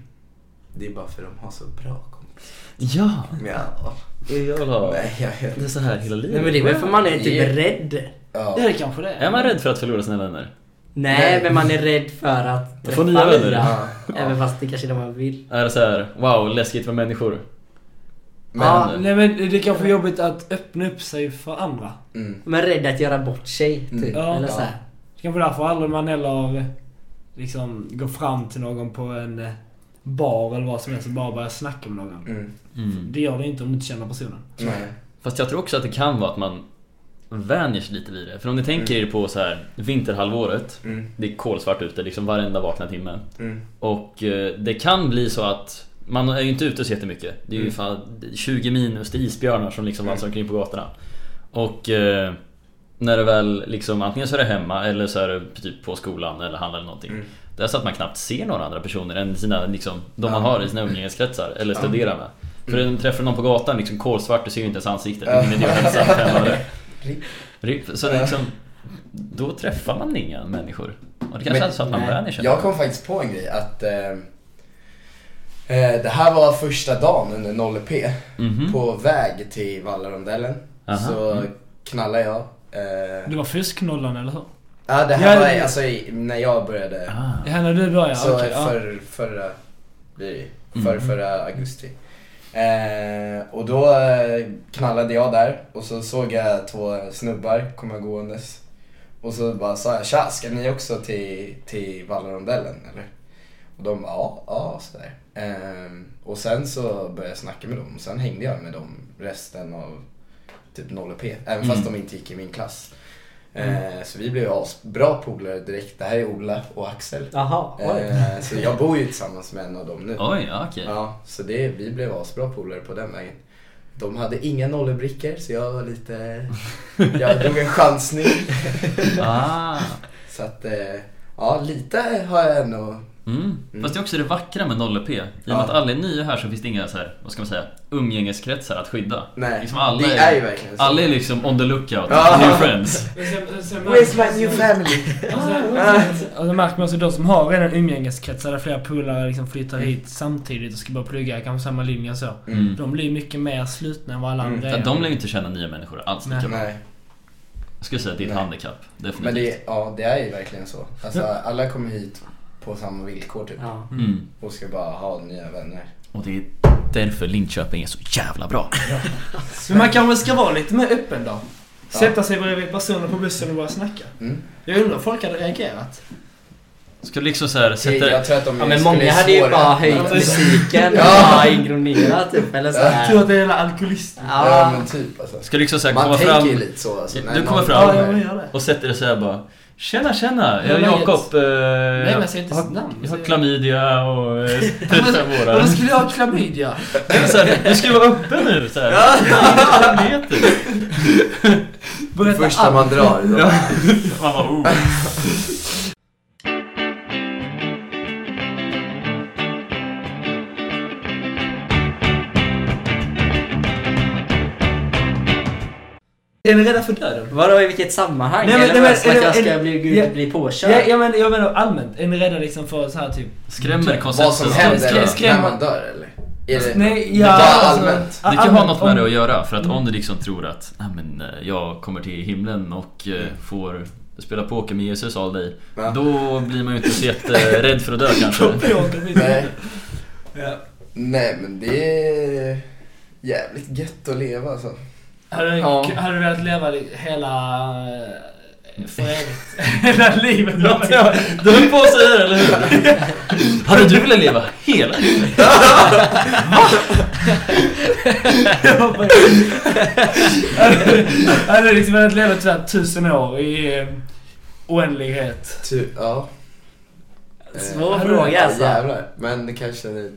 Det är bara för de har så bra kompisar.
Ja!
Ja,
Jag vill ha...
nej jag vet
Det är så här hela livet.
Nej men det är väl för man är typ
Yeah.
rädd.
Det
ja.
är det kanske det
Är man rädd för att förlora sina vänner?
Nej, men man är rädd för att
Få nya vänner.
Ja.
Även fast det kanske är det man vill.
Är det så här, wow, läskigt med människor?
Men,
Ja.
Nej men det är kanske är jobbigt att öppna upp sig för andra.
mm,
Man är rädd att göra bort sig, typ.
Mm.
Ja.
Eller så här.
Det kanske är därför aldrig man heller liksom går fram till någon på en eh, bar eller vad som helst och bara börjar snacka med någon.
mm,
Det gör det inte om du inte känner personen.
nej.
Fast jag tror också att det kan vara att man vänjer sig lite vid det. För om ni tänker er på så här vinterhalvåret.
Mm,
Det är kolsvart ute liksom varenda vakna timme.
mm,
Och eh, det kan bli så att man är ju inte ute så jättemycket. Det är ju
Mm.
fan 20 minus, det är isbjörnar som liksom
Mm.
valsar omkring på gatorna. Och eh, när det väl liksom antingen så är det hemma eller så är det typ på skolan eller handlar eller någonting.
Mm.
Det är så att man knappt ser några andra personer än sina, liksom, de man
Ja.
har i sina umgängeskretsar eller
Ja.
studerar med. För mm. träffar någon på gatan liksom kolsvart, du ser ju inte ens ansiktet.
Ja.
Ingen idé att hälsa. fem öre.
Ripp.
Ripp. Så det är liksom, då träffar man inga människor. Och det kanske
Men-
är så att man
nej.
vänjer sig.
Jag kom faktiskt på en grej att eh, eh, det här var första dagen under 0P.
Mhm.
På väg till Vallarondellen
Aha.
så knallade jag. Eh,
Det var fusknollan eller hur?
ja, det här
Ja,
var
det-
alltså i, när jag började.
Ah.
Ja, när du började?
Så
okej, ja.
för, förra, blir det, för, förra augusti. Eh, och då eh, knallade jag där och så såg jag två snubbar komma gåendes. Och så bara sa jag tja, ska ni också till, till Vallarondellen eller? Och de bara ja, ja sådär. Eh, och sen så började jag snacka med dem och sen hängde jag med dem resten av typ 0P. Även fast de inte gick i min klass. Eh, Så vi blev ju bra polare direkt. Det här är Ola och Axel.
Jaha, oj.
Eh, Så jag bor ju tillsammans med en av dem nu.
Oj, ja, okej.
Ja, så det, vi blev asbra polare på den vägen. De hade inga nollbrickor så jag var lite... Jag drog en chansning.
Ah.
Så att, eh, ja lite har jag ändå...
Mm. Fast det är också det vackra med 0P. I och med
Ja.
att alla är nya här så finns det inga så här, vad ska man säga, umgängeskretsar att skydda.
Nej,
liksom alla
det är ju verkligen så.
Alla är liksom on the lookout,
Ja.
new friends.
Men sen- sen märker
Where's
man-
my new family?
Och sen- Och då märker man också de som har redan umgängeskretsar där flera polare liksom flyttar hit samtidigt och ska bara plugga kanske samma linje och så.
Mm.
De blir mycket mer slutna än vad alla
Mm.
andra
Ja,
är.
de lär ju inte känna nya människor alls lika
Nej.
bra.
Nej,
Jag skulle säga att det är ett
Nej.
handikapp. Definitivt.
men det, ja, det är ju verkligen så. Alltså, alla kommer hit på samma villkor typ.
Ja.
Mm.
Och ska bara ha nya vänner.
Och det är därför Linköping är så jävla bra.
Men man kanske ska vara lite mer öppen då? Sätta sig bredvid personer på bussen och bara snacka.
Mm.
Jag undrar om folk hade reagerat.
Ska du liksom så här
Jag,
sätta...
jag tror att de
Ja men
skulle
många hade ju
svåra-
bara höjt
Ja.
musiken och
Ja.
bara ignorerat typ eller så
Jag
här.
tror att det är alla alkoholister.
Ja
Ja.
men typ alltså.
Ska du liksom så här komma
Man tänker ju
fram
lite så alltså.
Du
när
kommer
någon-
fram.
Ja, jag gör det.
och sätter dig så här bara Tjena tjena, jag är
Ja, läget?
Jakob. eh,
Nej men jag säger inte sitt namn.
Jag har
Säger-
klamydia och eh, 35
Varför
år.
varför skulle jag ha klamydia?
Men så här, Du ska ju vara öppen nu så här. Jag vet inte.
Berätta
Första
allt.
man drar. då.
Man bara, oh.
Är ni rädda för döden?
Vadå i vilket sammanhang?
Nej, men-
eller
nej,
var det
men-
som att
nej,
jag
men-
ska bli,
ja.
gud, bli påkörd?
Jag, jag, menar, jag menar allmänt, är ni rädda liksom för så här typ...
Skrämmer konceptet.
Vad som
Skräm- skräm-
händer
skräm-
när man dör eller? Är det...
Nej,
Ja,
ja... alltså-
allmänt.
Det kan ha
allmänt,
något med
om-
det att göra för att om du liksom tror att "Nej, men, eh, jag kommer till himlen och eh, får spela poker med Jesus all day.
Mm. Ja.
Då blir man ju inte så jätterädd för att dö kanske.
Nej.
Ja.
Nej men det är jävligt gött att leva alltså.
Hade,
Ja.
hade du velat leva li- hela... eh, För evigt? hela livet?
Ja, ja. Du höll på att säga det, eller hur? Hade du velat leva hela livet?
Hade- Hade du liksom velat leva sådär tusen år i eh, oändlighet?
Ty, ja.
Svår
Eh,
fråga
Ja,
alltså.
jävlar. Men det kanske är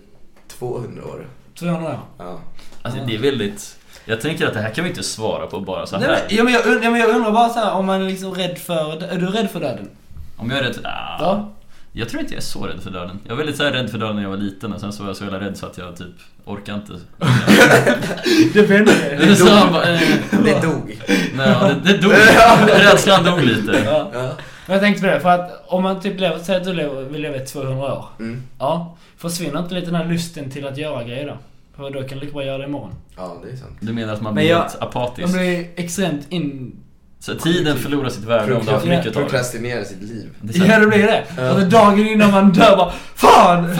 200 år.
200 år?
Ja.
Alltså det är väldigt... Jag tänker att det här kan vi inte svara på bara så
Nej,
här.
men, ja, men jag, und- ja, men jag undrar bara såhär om man är liksom rädd för... Är du rädd för döden?
Om jag är rädd... Ah,
Ja.
jag tror inte jag är så rädd för döden. Jag var väldigt så här rädd för döden när jag var liten och sen så var jag så jävla rädd så att jag typ orkar inte.
Det vände
Så jag bara, eh,
Det dog.
Nej, ja, det, det dog. Rädslan dog lite.
Ja.
Ja.
Men jag tänkte på det, för att om man typ lever, säg att du lever, vill leva i 200 år.
Mm.
Ja. Försvinner inte lite den här lusten till att göra grejer då? För då kan du lika bra göra det imorgon.
ja, det är sant.
Du menar att man
Men
blir
jag-
helt apatisk?
De blir extremt in...
Så tiden förlorar sitt värde om du har för mycket av det.
Prokrastinera sitt liv.
Det är så
Ja,
här-
det blir det.
Ja.
Alltså dagen innan man dör bara Fan!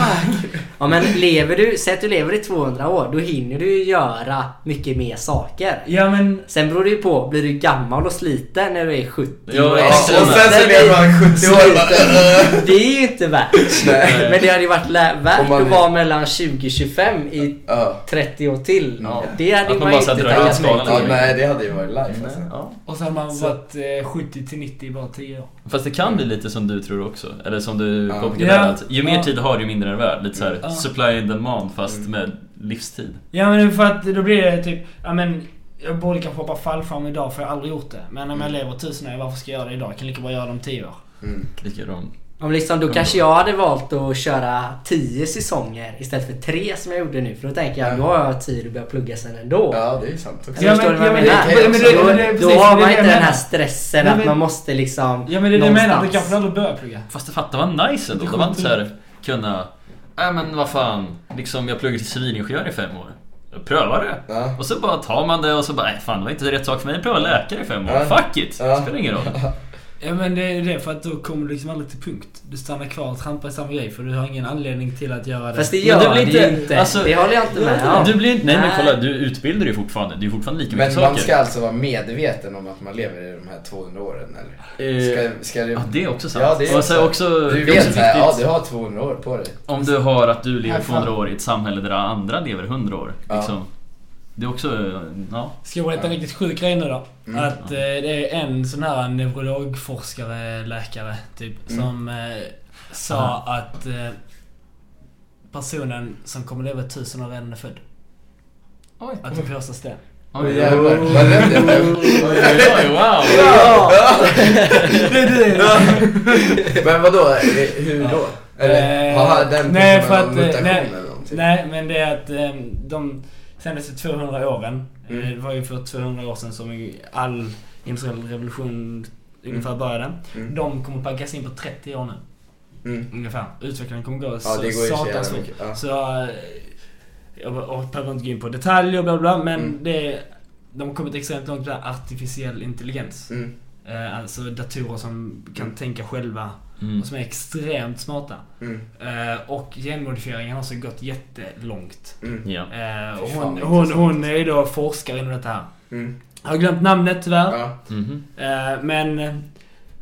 Ja men lever du, säg att du lever i 200 år, då hinner du ju göra mycket mer saker.
Ja men...
Sen beror det ju på, blir du gammal och sliten när du är 70
Ja,
år?
Ja,
exakt.
och sen så
Nej,
blir man 70 år och bara...
Sliten. Det är ju inte värt.
Nej.
Men det hade ju varit lä- värt
Om man-
att vara mellan 20 och 25 i
Ja.
30 år till.
Ja.
Det hade
Att man
ju man
bara
ju inte
så här drar ut
tackat nej
skalan.
till.
ja, nej det hade ju varit live alltså.
Ja.
Och så har man
Så-
varit eh, 70 till 90 i bara 10 år.
Fast det kan bli lite som du tror också, eller som du
Ja.
påpekade
Ja.
där, att ju mer
Ja.
tid du har ju mindre är du värd. Lite såhär
Ja.
supply and demand fast med livstid.
Ja men för att då blir det typ, ja men... Jag borde kanske hoppa fallskärm idag för jag har aldrig gjort det. Men om jag lever 1000 år, varför ska jag göra det idag? Jag kan lika bra göra det om 10 år.
Mm.
Likadant.
Om liksom, då kanske jag hade valt att köra 10 säsonger istället för 3 som jag gjorde nu. För då tänker jag,
Ja.
då har jag tid att börja plugga sen ändå.
Ja, det är ju sant också.
Ja,
Ja, men,
men- ja, men
det,
det- men- men det-
då,
men det är precis-
då har
det är
man
det
inte
jag
den
menar.
här stressen
Nej,
att
men-
man måste liksom
Ja men det är det jag menar, du
någonstans.
kanske aldrig börjar plugga.
Fast det fattar vad nice ändå. Det var inte såhär kunna, nej men vad fan, liksom jag pluggar till civilingenjör i fem år. Jag prövar det.
Ja.
Och så bara tar man det och så bara, nej fan det var inte rätt sak för mig att pröva läkare i fem år.
Ja.
Fuck it!
Ja.
Det spelar ingen roll.
Ja men det är det för att då kommer du liksom aldrig till punkt. Du stannar kvar och trampar i samma grej för du har ingen anledning till att göra det.
Fast det
Men
gör
det blir
det ju
inte-
inte.
alltså-
det håller jag inte med om.
Du blir inte, nej men
Nej.
kolla du utbildar dig ju fortfarande. Det är ju fortfarande lika
Men
mycket
man
saker.
ska alltså vara medveten om att man lever i de här 200 åren eller?
Eh,
Ska, ska det...
Ja, det är också sant.
Ja, det är
och så
sant.
också,
Du
det är
vet
också
såhär, ja
viktigt
du har 200 år på dig.
om du har att du lever
Ja, fan.
200 år i ett samhälle där andra lever 100 år.
Ja.
Liksom. Det är också, ja.
Ska jag berätta en riktigt sjuk grej nu då?
Mm.
Att eh, det är en sån här neurologforskare, läkare typ,
Mm.
som eh, sa att eh, personen som kommer leva tusen år redan är född.
Oj.
Att det krossas det.
Oj,
Jävlar, vad rädd jag blev.
oj, wow!
Det är du!
Men vadå, Eh, hur då? Eller
Eh,
har den
nej,
personen
för
någon
att, eh,
mutation
nej,
eller någonting?
Nej, men det är att ehm, de senaste 200 åren,
Mm.
eh, det var ju för 200 år sedan som ju all industriell revolution ungefär började.
Mm.
De kommer packas in på 30 år nu.
Mm.
Ungefär. Utvecklingen kommer gå
Ja,
så
det går ju så
satans
jävla
fort.
mycket. Ja.
Så eh, jag be- jag behöver inte gå in på detaljer och bla bla, men
Mm.
det, de har kommit extremt långt med artificiell intelligens.
Mm.
Eh, Alltså datorer som kan
Mm.
tänka själva
Mm.
och som är extremt smarta.
Mm.
Eh, och genmodifieringen har också gått jättelångt.
Mm.
Ja.
Eh,
Fy
och
fan,
hon,
det är
hon,
intressant.
hon är ju då forskare inom detta här.
Mm.
Jag har glömt namnet tyvärr.
Ja.
Mhm.
Eh, men eh,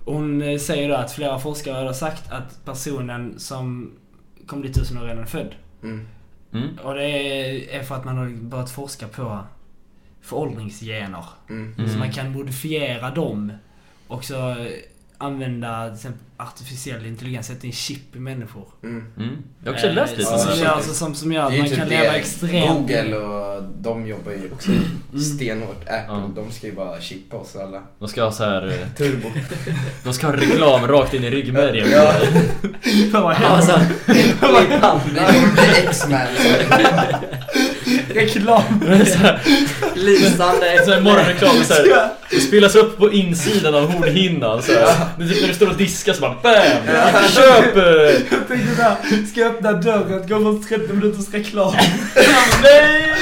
hon eh, säger då att flera forskare har sagt att personen som kom dit tusen år redan är född.
Mm.
Mm.
Och det är för att man har börjat forska på föråldringsgener.
Mm.
Så
Mm.
man kan modifiera dem. Och så eh, använda till exempel artificiell intelligens, sätta in chip i människor.
Mm.
Mm. Jag har också läst lite
om
om
det.
det.
Som,
här.
gör- alltså, som, som gör
Det är
att
ju
man
typ
kan
det
leva extremt... Mm.
Google och de jobbar ju också stenhårt. Apple,
Ja.
de ska ju bara chippa oss alla.
De ska ha så här, eh,
Turbo.
de ska ha reklam rakt in i ryggmärgen.
Ja.
Fan, vad hemskt.
Alltså,
Det kommer bli X-Man.
Reklam!
lysande.
Alltså,
Så här morgonreklam så här, det spelas upp på insidan av hornhinnan så här. Det är typ när du står och diskar så bara BAM! Köp! eh,
Jag tänkte där, ska jag öppna dörren, gå på 30 minuters reklam.
Nej!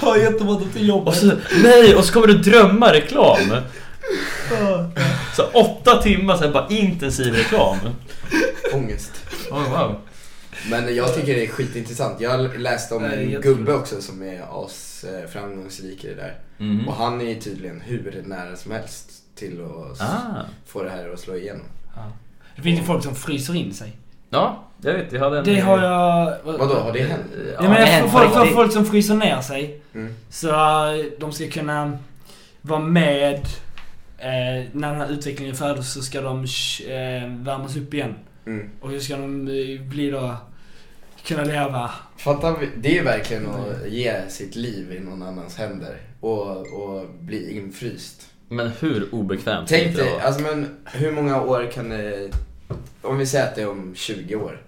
Har jättebråttom till
Och
jobbet.
så, nej! Och så kommer det drömmarreklam. Så här, åtta timmar så här, bara intensiv reklam.
Ångest.
Oh, wow.
Men jag tycker det är skitintressant. Jag läste om
Nej,
en
jag
gubbe också som är as eh, framgångsrik i det där.
Mm.
Mhm.
Och han är ju tydligen hur nära som helst till att s-
Ah.
få det här att slå igenom.
Det finns ju folk som fryser in sig.
Ja, jag vet. Jag hade en... eh,
Det har jag...
Vadå, har det hänt?
Ja,
Jag menar
det är
för folk,
på
för
riktigt.
folk som fryser ner sig.
Mm.
Så eh, de ska kunna vara med. Eh, när den här utvecklingen är färdig så ska de eh, värmas upp igen.
Mm.
Och hur ska de eh, bli då... Kunna leva.
Fattar vi? Det är ju verkligen att ge sitt liv i någon annans händer och, och bli infryst.
Men hur obekvämt kan
Tänk
inte det
dig,
vara?
alltså men hur många år kan det... Om vi säger att det är om 20 år.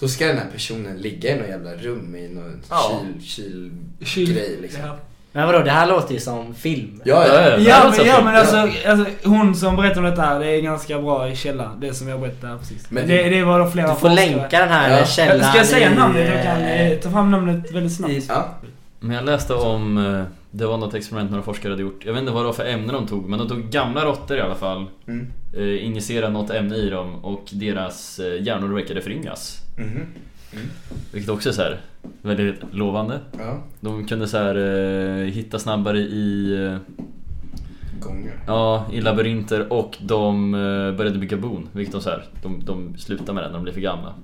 Då ska den här personen ligga i något jävla rum i någon
Ja.
kyl, kyl, grej liksom.
Ja.
Men vadå, det här låter ju som film.
Ja, ja.
Ja,
Ja
alltså,
men, ja, men
ja.
alltså, alltså hon som berättar om detta här, det är en ganska bra källa. Det som jag berättade precis.
Men-
Men det, det var då flera
Du får
forskare.
länka den här
Ja.
källan
Ska jag säga
i,
namnet? Jag kan
eh,
eh, ta fram namnet väldigt snabbt.
i-
ja.
Men jag läste om, eh, det var något experiment några forskare hade gjort. Jag vet inte vad det var för ämne de tog, men de tog gamla råttor i alla fall.
Mm.
Eh, injicerade något ämne i dem och deras eh, hjärnor verkade föryngras.
Mhm.
Vilket också är så här väldigt lovande.
Ja.
De kunde så här eh, hitta snabbare i, eh,
Gånger.
ja, i labyrinter och de eh, började bygga bon. Vilket de så här, de, de slutade med det när de blev för gamla.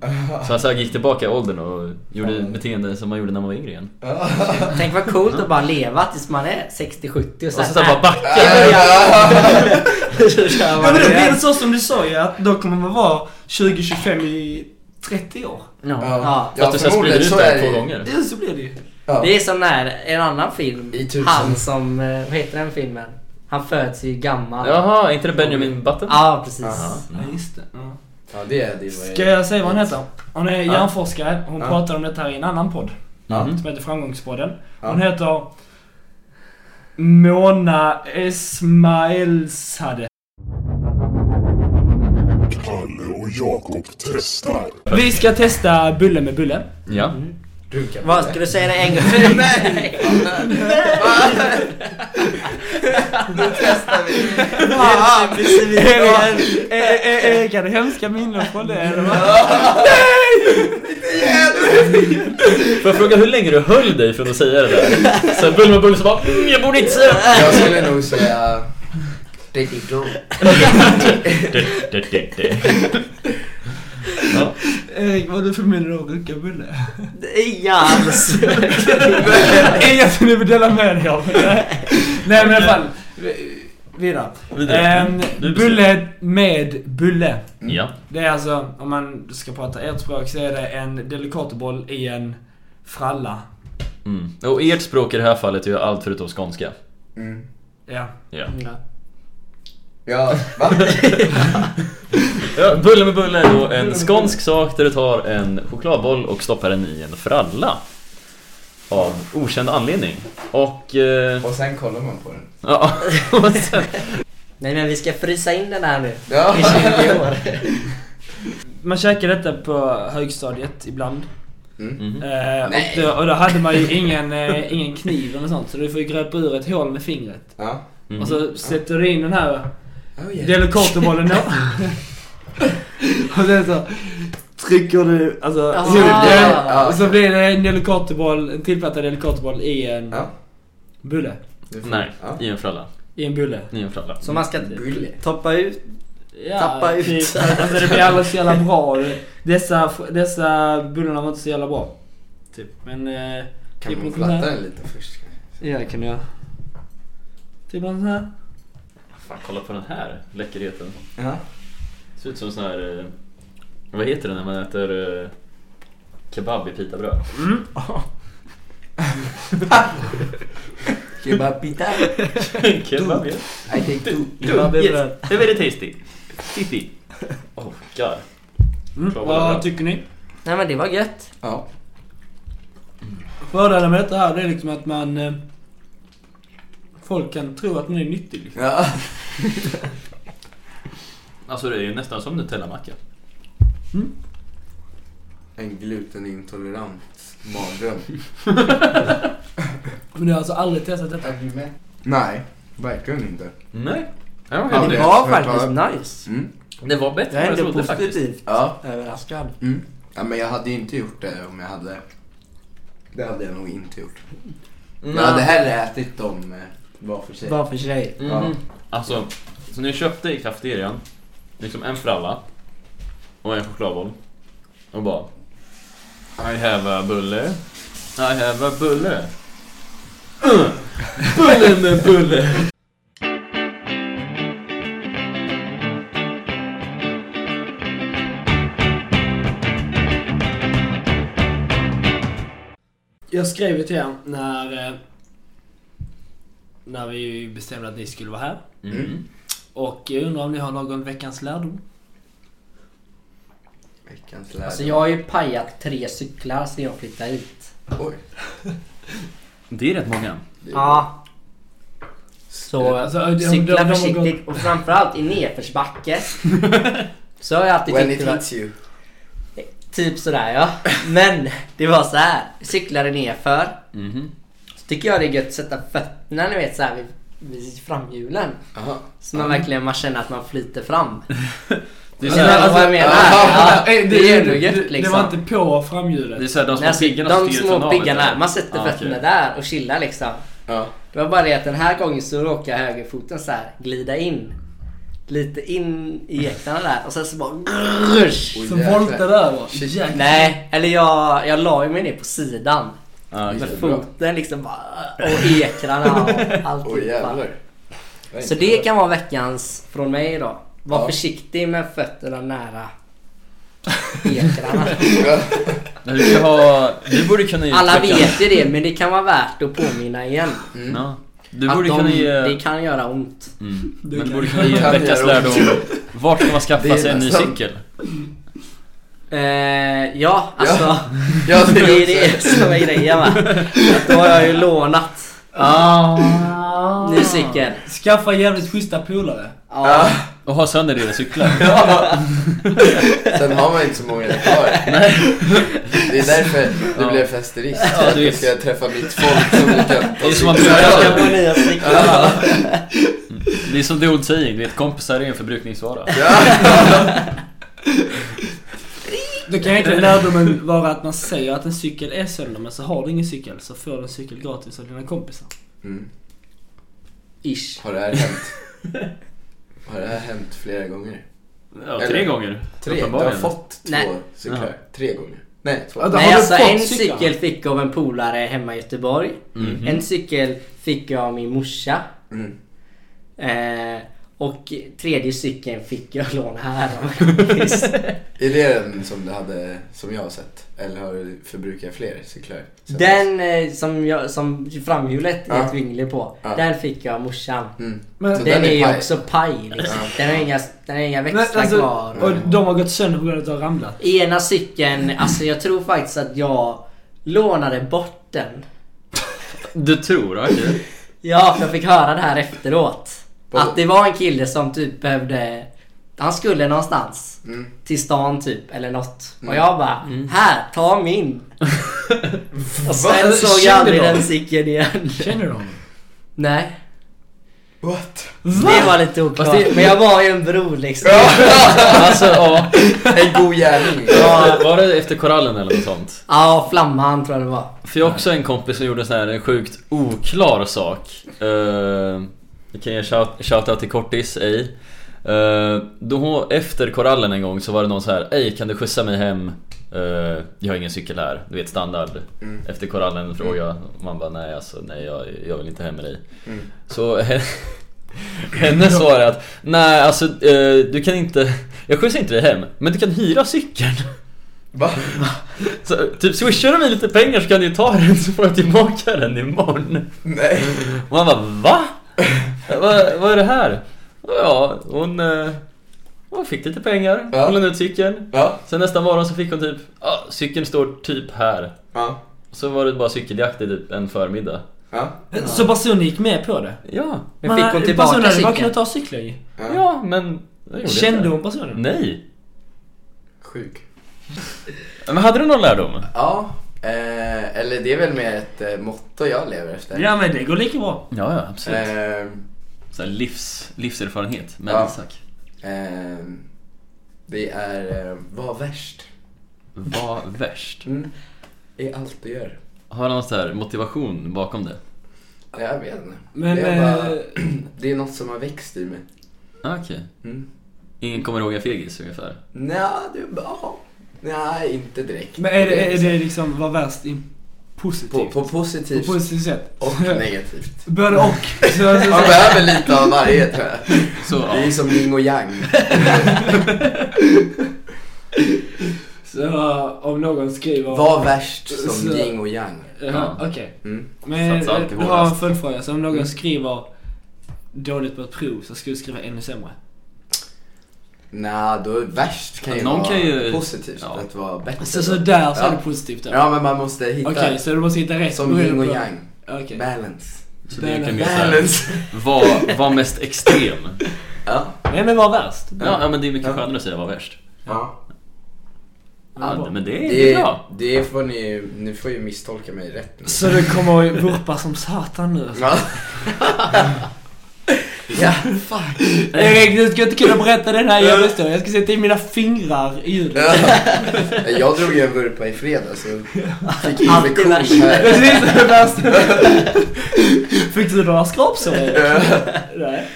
Så han så här, gick tillbaka i åldern och gjorde
Fan.
beteende som man gjorde när man var yngre igen.
Tänk vad coolt att bara leva tills man är 60-70 och
Och sen så här bara backa.
Ja, men då blir det så som du sa ju, att då kommer man vara 20, 25, i 30 år.
Ja.
För att du sen sprider ut det två gånger.
Det, så blir det ju.
Ja.
Det är som när en annan film.
I tusen.
Han som, eh, vad heter den filmen? Han föds ju gammal.
Jaha, är inte det Benjamin Button?
Ja, precis.
Aha.
Ja, just det. Ja.
Ja, det är det.
Ska jag säga vad hon heter? Hon är
Ja.
hjärnforskare. Hon
Ja.
pratade om detta här i en annan podd.
Ja.
Mhm.
Som heter Framgångspodden.
Ja.
Hon heter Mona Esmaelshade.
Kalle och Jakob testar.
Vi ska testa bulle med bulle.
Ja.
Runka på
Vad,
det.
ska du säga det en gång till? Nej!
Är- är- är- Är det hemska minnen från det eller vad?
Får jag fråga hur länge du höll dig från att säga det där? Sen bull med bull så bara mm, jag borde inte säga det.
Jag skulle nog säga... Diddy-do.
Det- det- det- det. Ja.
Erik, var du förmyndare att runka bulle?
Inga alls.
Inget ni vill dela med er av. Nej men i alla fall. Vidare.
Vidare.
Ehm,
Du
bulle med bulle.
Ja.
Det är alltså, om man ska prata ert språk, så är det en delikatoboll i en fralla.
Mm. Och ert språk i det här fallet är ju allt förutom skånska.
Mm.
Ja.
Ja.
Ja, va?
Ja, bulle med bulle är då en skånsk sak där du tar en chokladboll och stoppar den i en fralla. Av okänd anledning. Och... Eh,
Och sen kollar man på den.
ja, och sen,
Nej men vi ska frysa in den här nu.
Ja.
I 20 år.
Man käkar detta på högstadiet ibland.
Mm.
Mhm.
Eh,
Nej.
och, då, och då hade man ju ingen, eh, ingen kniv eller något sånt, så du får ju gröpa ur ett hål med fingret.
Ja.
Mhm.
Och så sätter du in den här
Oh,
delikatobollen då. och sen så trycker du, alltså,
Ah.
huvudet.
Ja.
Och så blir det en delikatoboll, en tillplattad delikatoboll i en
Ja.
bulle.
Du får-
Nej,
Ja.
i en fralla.
I en bulle.
I en fralla.
Så man ska
Bulle.
toppa ut.
Ja,
Tappa ut.
typ. Alltså det blir alldeles så jävla bra. Dessa, dessa bullarna var inte så jävla bra. Typ. Men... Eh,
Kan
typ
man
något sånt här.
platta den lite först?
Ja, det kan jag. Typ någon sån här.
Fan, kolla på den här läckerheten.
Ja.
Det ser ut som en sån här... eh, Vad heter det när man äter eh, kebab i pitabröd?
Kebab pita.
kebab, ja.
I take two.
Kebab i bröd.
Det är väldigt tasty. Titti. Oh god.
Mm.
Bra, bra, bra.
Vad tycker ni?
Nej men det var gött.
Ja.
Fördelen med detta här det är liksom att man... Eh, folk kan tro att man är nyttig. Liksom.
Ja.
Alltså det är ju nästan som Nutella-macka.
En glutenintolerant mardröm.
Men du har alltså aldrig testat detta?
Är du med? Nej, verkligen inte.
Nej.
Ja, det
det
var
är-
faktiskt nice.
Mm.
Det var bättre
Jag är
än vad jag
ändå
trodde faktiskt.
positivt
Ja.
överraskad.
Mm. ja, men jag hade ju inte gjort det om jag hade... Det hade jag nog inte gjort. Jag hade hellre ätit dem eh, var för sig.
Var för sig.
Mhm.
Ja.
Alltså, så ni köpte i kafeterian liksom en fralla och en chokladboll och bara I have a bulle, I have a bulle. Mm. Bulle med bulle.
Jag skrev ju till er när... Eh, när vi bestämde att ni skulle vara här.
Mm.
Och jag undrar om ni har någon veckans lärdom?
Veckans lärdom.
Alltså jag har ju pajat tre cyklar sedan jag flyttade hit.
Oj.
Det är rätt många.
Det-
Ja. Så
Alltså, de- de- de- de
cykla
har
försiktigt och framförallt i nedförsbacke. Så har jag alltid
When
tyckt
it
det var
hits you.
typ sådär ja. Men det var så här. cyklade nedför.
Mhm.
Så tycker jag det är gött att sätta fötterna ni vet såhär vid, vid framhjulen.
Jaha.
Så man verkligen man känner att man flyter fram.
Det är
Alltså,
såhär,
vad jag menar?
Ja,
Ja,
Eh,
det är ändå
det-
gött liksom.
Det var inte på framhjulet.
det är såhär de
Nej,
små
alltså,
piggarna
de
styr från
små
havet,
piggarna,
eller?
man sätter
Ah,
fötterna
okej.
där och chillar liksom.
Ja.
Det var bara det att den här gången så råkade högerfoten så här glida in. Lite in i jäktarna där och sen så bara grrrsch.
Oj,
Så
jäklar.
voltade över.
Shit.
Jäklar.
Nej, eller jag, jag la ju mig ner på sidan.
Ah, okej.
Med
det är bra.
foten liksom bara och ekrarna och
Oj
alltihopa.
jävlar.
Så det kan vara veckans från mig idag. Var
Ja.
försiktig med fötterna nära ekrarna.
Nej, Vi ska ha... Du borde kunna ge...
Alla
veckan-
vet ju det men det kan vara värt att påminna igen.
Mm.
Mm. Ja. Du
Att
borde
de,
kunna ge...
Det kan göra ont.
Mm.
Du
Men du
kan-
borde kunna ge en
Kan
veckans
göra ont.
lärdom. Vart ska man
Det är
skaffa sig en ny
nästan-
cykel?
Eh, ja, alltså.
Ja,
det
det
är
är
det som är grejen va. Att då har jag ju lånat
Ah.
ny cykel.
Skaffa jävligt schyssta polare.
Ja.
Och ha sönder dina cyklar?
Sen har man inte så många kvar. Det är därför du
Ja.
blev festerist.
Ja,
Att
det är-
du ska träffa mitt folk som du kan
Det är som att du
Jag ska få nya cyklar.
Det är som The Old Saying, du vet kompisar är en förbrukningsvara.
Då kan egentligen lärdomen vara att man säger att en cykel är sönder men så har du ingen cykel så får du en cykel gratis av dina kompisar.
Mm.
Ish.
Har det här hänt? Har det här hänt flera gånger?
Ja, tre
Eller-
gånger.
Tre, du har
uppenbarligen.
fått två
Nej.
cyklar.
Jaha.
Tre gånger. Nej, två.
Ja, då-
Nej,
har du
alltså
fått
en
cyklarna?
cykel fick jag av en polare hemma i Göteborg.
Mm.
En cykel fick jag av min morsa.
Mm.
Eh, och tredje cykeln fick jag låna här av en kompis.
Är det den som du hade, som jag har sett? Eller har du förbrukat fler cyklar? sen dess?
Den eh, som, jag, som framhjulet är
Ja.
ett vingle på,
Ja.
den fick jag av morsan.
Mm.
Men-
Så
Den är ju
paj.
också paj liksom.
Ja.
Den har inga, den har inga
Men,
växlar
alltså,
kvar.
och de har gått sönder på grund av att de har ramlat.
Ena cykeln, alltså jag tror faktiskt att jag lånade bort den.
Du tror? Okej.
Ja, för jag fick höra det här efteråt.
Vadå?
Att det var en kille som typ behövde... Han skulle någonstans.
Mm.
Till stan typ, eller något. Och jag bara,
Mm.
här, ta min. och sen
Va?
såg jag
Kände
aldrig
du
den
honom?
cykeln igen.
Känner du honom?
Nej,
What?
det var lite oklart.
Fast det-
Men jag var ju en bror liksom.
Alltså, ja.
En god gärning.
Var det efter korallen eller något sånt?
Ja, flamman tror jag det var.
För jag har också en kompis som gjorde så här en sjukt oklar sak. Uh, jag kan ge shout- shoutout till Kortis, ej. Eh, då, hon- efter korallen en gång så var det någon så här Ej kan du skjutsa mig hem? Eh, jag har ingen cykel här. Du vet standard. Efter korallen fråga. Man bara nej alltså nej jag, jag vill inte hem med dig. Så he- hennes svar är att nej alltså eh, du kan inte, jag skjutsar inte dig hem. Men du kan hyra cykeln.
Va?
Så, typ swishar du mig lite pengar så kan du ta den så får jag tillbaka den imorgon.
Nej.
Och man bara va? Vad, vad är det här? Och ja, hon, eh, hon fick lite pengar,
Ja.
hon lånade ut cykeln.
Ja.
Sen nästa morgon så fick hon typ, ja cykeln står typ här.
Ja.
Så var det bara cykeljakt i typ en förmiddag.
Ja.
Så personen gick med på det?
Ja,
Men fick hon
Personen
tillbaka
hade bara
cykeln?
kunnat ta cykeln ju.
Ja.
ja men... det gjorde
Kände
inte.
hon personen?
Nej.
Sjuk.
Men hade du någon lärdom?
Ja. Eh, eller det är väl mer ett eh, motto jag lever efter.
Ja men det går lika bra.
Ja, ja absolut.
Ehm,
Så här livs, livserfarenhet. Men
Ja.
Isak,
ehm, det är eh, var värst
var värst?
Mm.
i allt du gör.
Har du någon sån här motivation bakom det?
Ja, Jag vet inte.
Men,
det, är bara,
eh,
det är något som har växt i mig.
Ah, Okej.
Mm.
Ingen kommer ihåg en fegis ungefär?
Nja, du ja. Nej, inte direkt.
Men är det, är det liksom vad värst i positivt?
på, på
På
positivt
positivt sätt?
och negativt.
Både och. Så, så, så.
Man behöver lite av varje tror jag.
Så,
Det är
ja.
som yin och yang.
så eh, om någon skriver...
Var värst som
Så-
yin och yang.
Jaha, okej.
Mm.
Men eh,
Satsa
jag
alkohol,
har en
alltså.
följdfråga. Så om någon skriver dåligt på ett prov så ska du skriva ännu sämre?
Nej, då är värst kan ju
Någon
vara
kan ju-
positivt,
ja.
att vara bättre.
Alltså, Så, så där så är
Ja.
det positivt då?
Ja, men man måste hitta
Okej, så du måste hitta rätt
som
beroende
yin och
på-
yang.
Okej.
Balance.
så det är egentligen mer såhär,
Balance.
var, var mest extrem.
Ja.
Nej men vad värst?
Ja, ja men det är mycket skönare att säga var värst.
ja.
Ja,
Ja,
bra.
men det är, det
Det,
är bra.
det får ni ju, ni får ju misstolka mig rätt nu.
Så du kommer att vurpa som satan nu?
Ja. ja, fuck.
Erik, du ska inte kunna berätta den här jävla historien. Jag ska sätta in mina fingrar i ljudet.
Jag drog ju en vurpa i fredags och fick
Alltid
infektion
värst.
Det
här.
är det värsta. Fick du några skrapsår? Nej.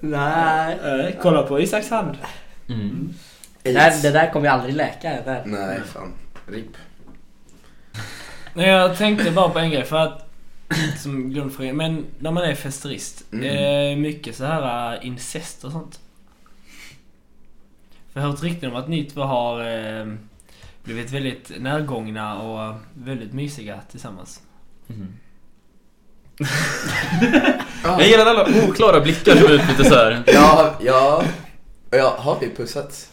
Nej.
Eh, Kolla på Isaks hand.
Mm.
Det där, det där kommer ju aldrig läka. Det där.
Nej, fan. RIP.
Nej, jag tänkte bara på en grej för att som grundfråga, men när man är festerist,
Mm.
är det mycket så här äh, incest och sånt? För jag har hört rykten om att ni två har eh, blivit väldigt närgångna och väldigt mysiga tillsammans.
Mm. Jag gillar alla oklara blickar som utbyter såhär.
Ja, ja. ja. Har vi pussats?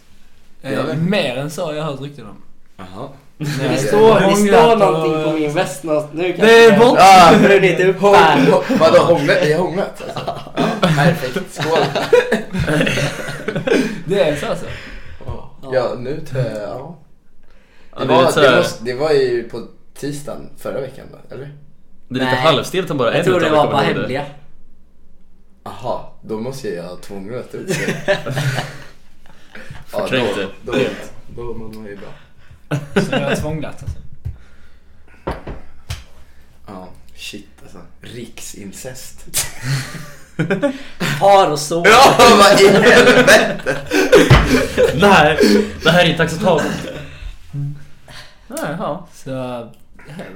Ja,
Eh,
det.
mer än så har jag hört rykten om.
Jaha.
Nej,
Det
det
står, det
Ångrat
står
och-
någonting på min väst någonstans. Nu kanske
Det är
jag-
bort.
Ah,
Jag brydde inte upp
Hång,
här.
hång- vadå hånglat? Vi har hånglat alltså? Ja, perfekt, skål!
Det är så alltså?
Ja, nu tror jag... Ja.
Ja,
Det,
det, är lite
var, det,
såhär,
måste, det var ju på tisdagen förra veckan va? Eller?
det är lite
Nej.
halvstelt om bara
Jag
en
tror
utav
det
er
var
kommer
bara
ihåg det.
hemliga.
Aha, då måste jag ha tvånglat ut det.
Förträngt
då,
det.
då, då mår man ju bra.
Så jag har tvånglat alltså.
Ja, shit alltså. Riksincest.
Har och så.
Ja, vad i helvete!
Nej, det här är inte acceptabelt. Nej, ja.
Så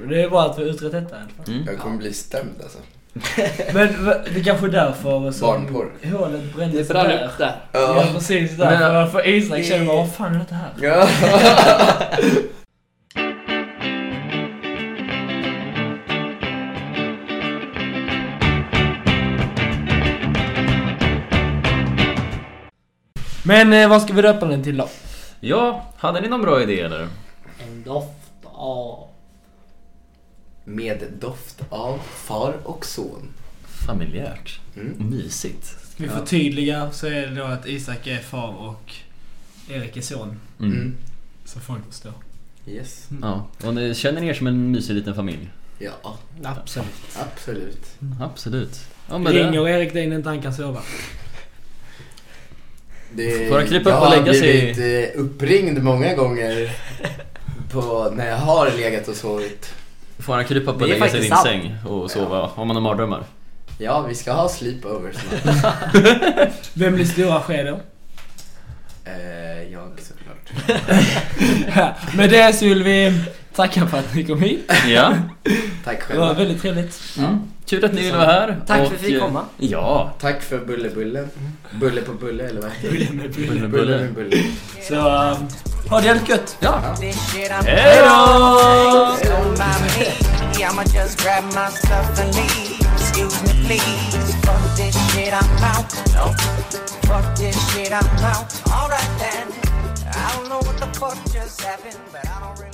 det är bra att vi har utrett detta i alla fall.
Mm.
Jag kommer bli stämd alltså.
Men va- det kanske är därför som
Barnporr.
hålet
Det är
brändes
för han
där.
upp där.
Ja precis, därför. För Isak känner bara vad fan är detta här?
Ja.
Men eh, vad ska vi döpa den till då?
ja, hade ni någon bra idé eller?
En doft av...
Med doft av far och son. Mm.
Familjärt. Och mysigt.
Ska vi förtydliga så är det då att Isak är far och Erik är son.
Mm.
Mm.
Så folk förstår.
Yes.
Ja, och ni känner ni er som en mysig liten familj?
Ja,
Absolut.
absolut.
Absolut. Ja, men det-
Ringer Erik dig när inte han kan sova?
Det,
Får han krypa
jag
upp och lägga sig i-
har blivit eh, uppringd många gånger på, när jag har legat och sovit.
Får han krypa upp
Det
och
är
lägga sig i din
faktiskt
säng och sova om man har mardrömmar?
Ja, vi ska ha sleepover snart.
Vem blir stora sker då?
eh, jag såklart.
Ja, Med det så vill vi tacka för att ni kom hit.
Ja.
Tack
Det var
själva.
väldigt trevligt.
Mm. Kul att ni ville vara här.
Tack för
och- eh,
att vi fick komma.
Ja.
Tack för bullebullen. Bulle på bulle, eller vad heter det?
Mm. Bulle,
Bulle
bulle.
med bulle.
Så eh, ha det jävligt gött.
This shit I'm
Hej då!
don't buy me. I'ma just grab my stuff and leave. Excuse me, please. Fuck this shit, I'm out. No. Fuck this shit, I'm out. Alright then. I don't know what the fuck just happened, but I don't really.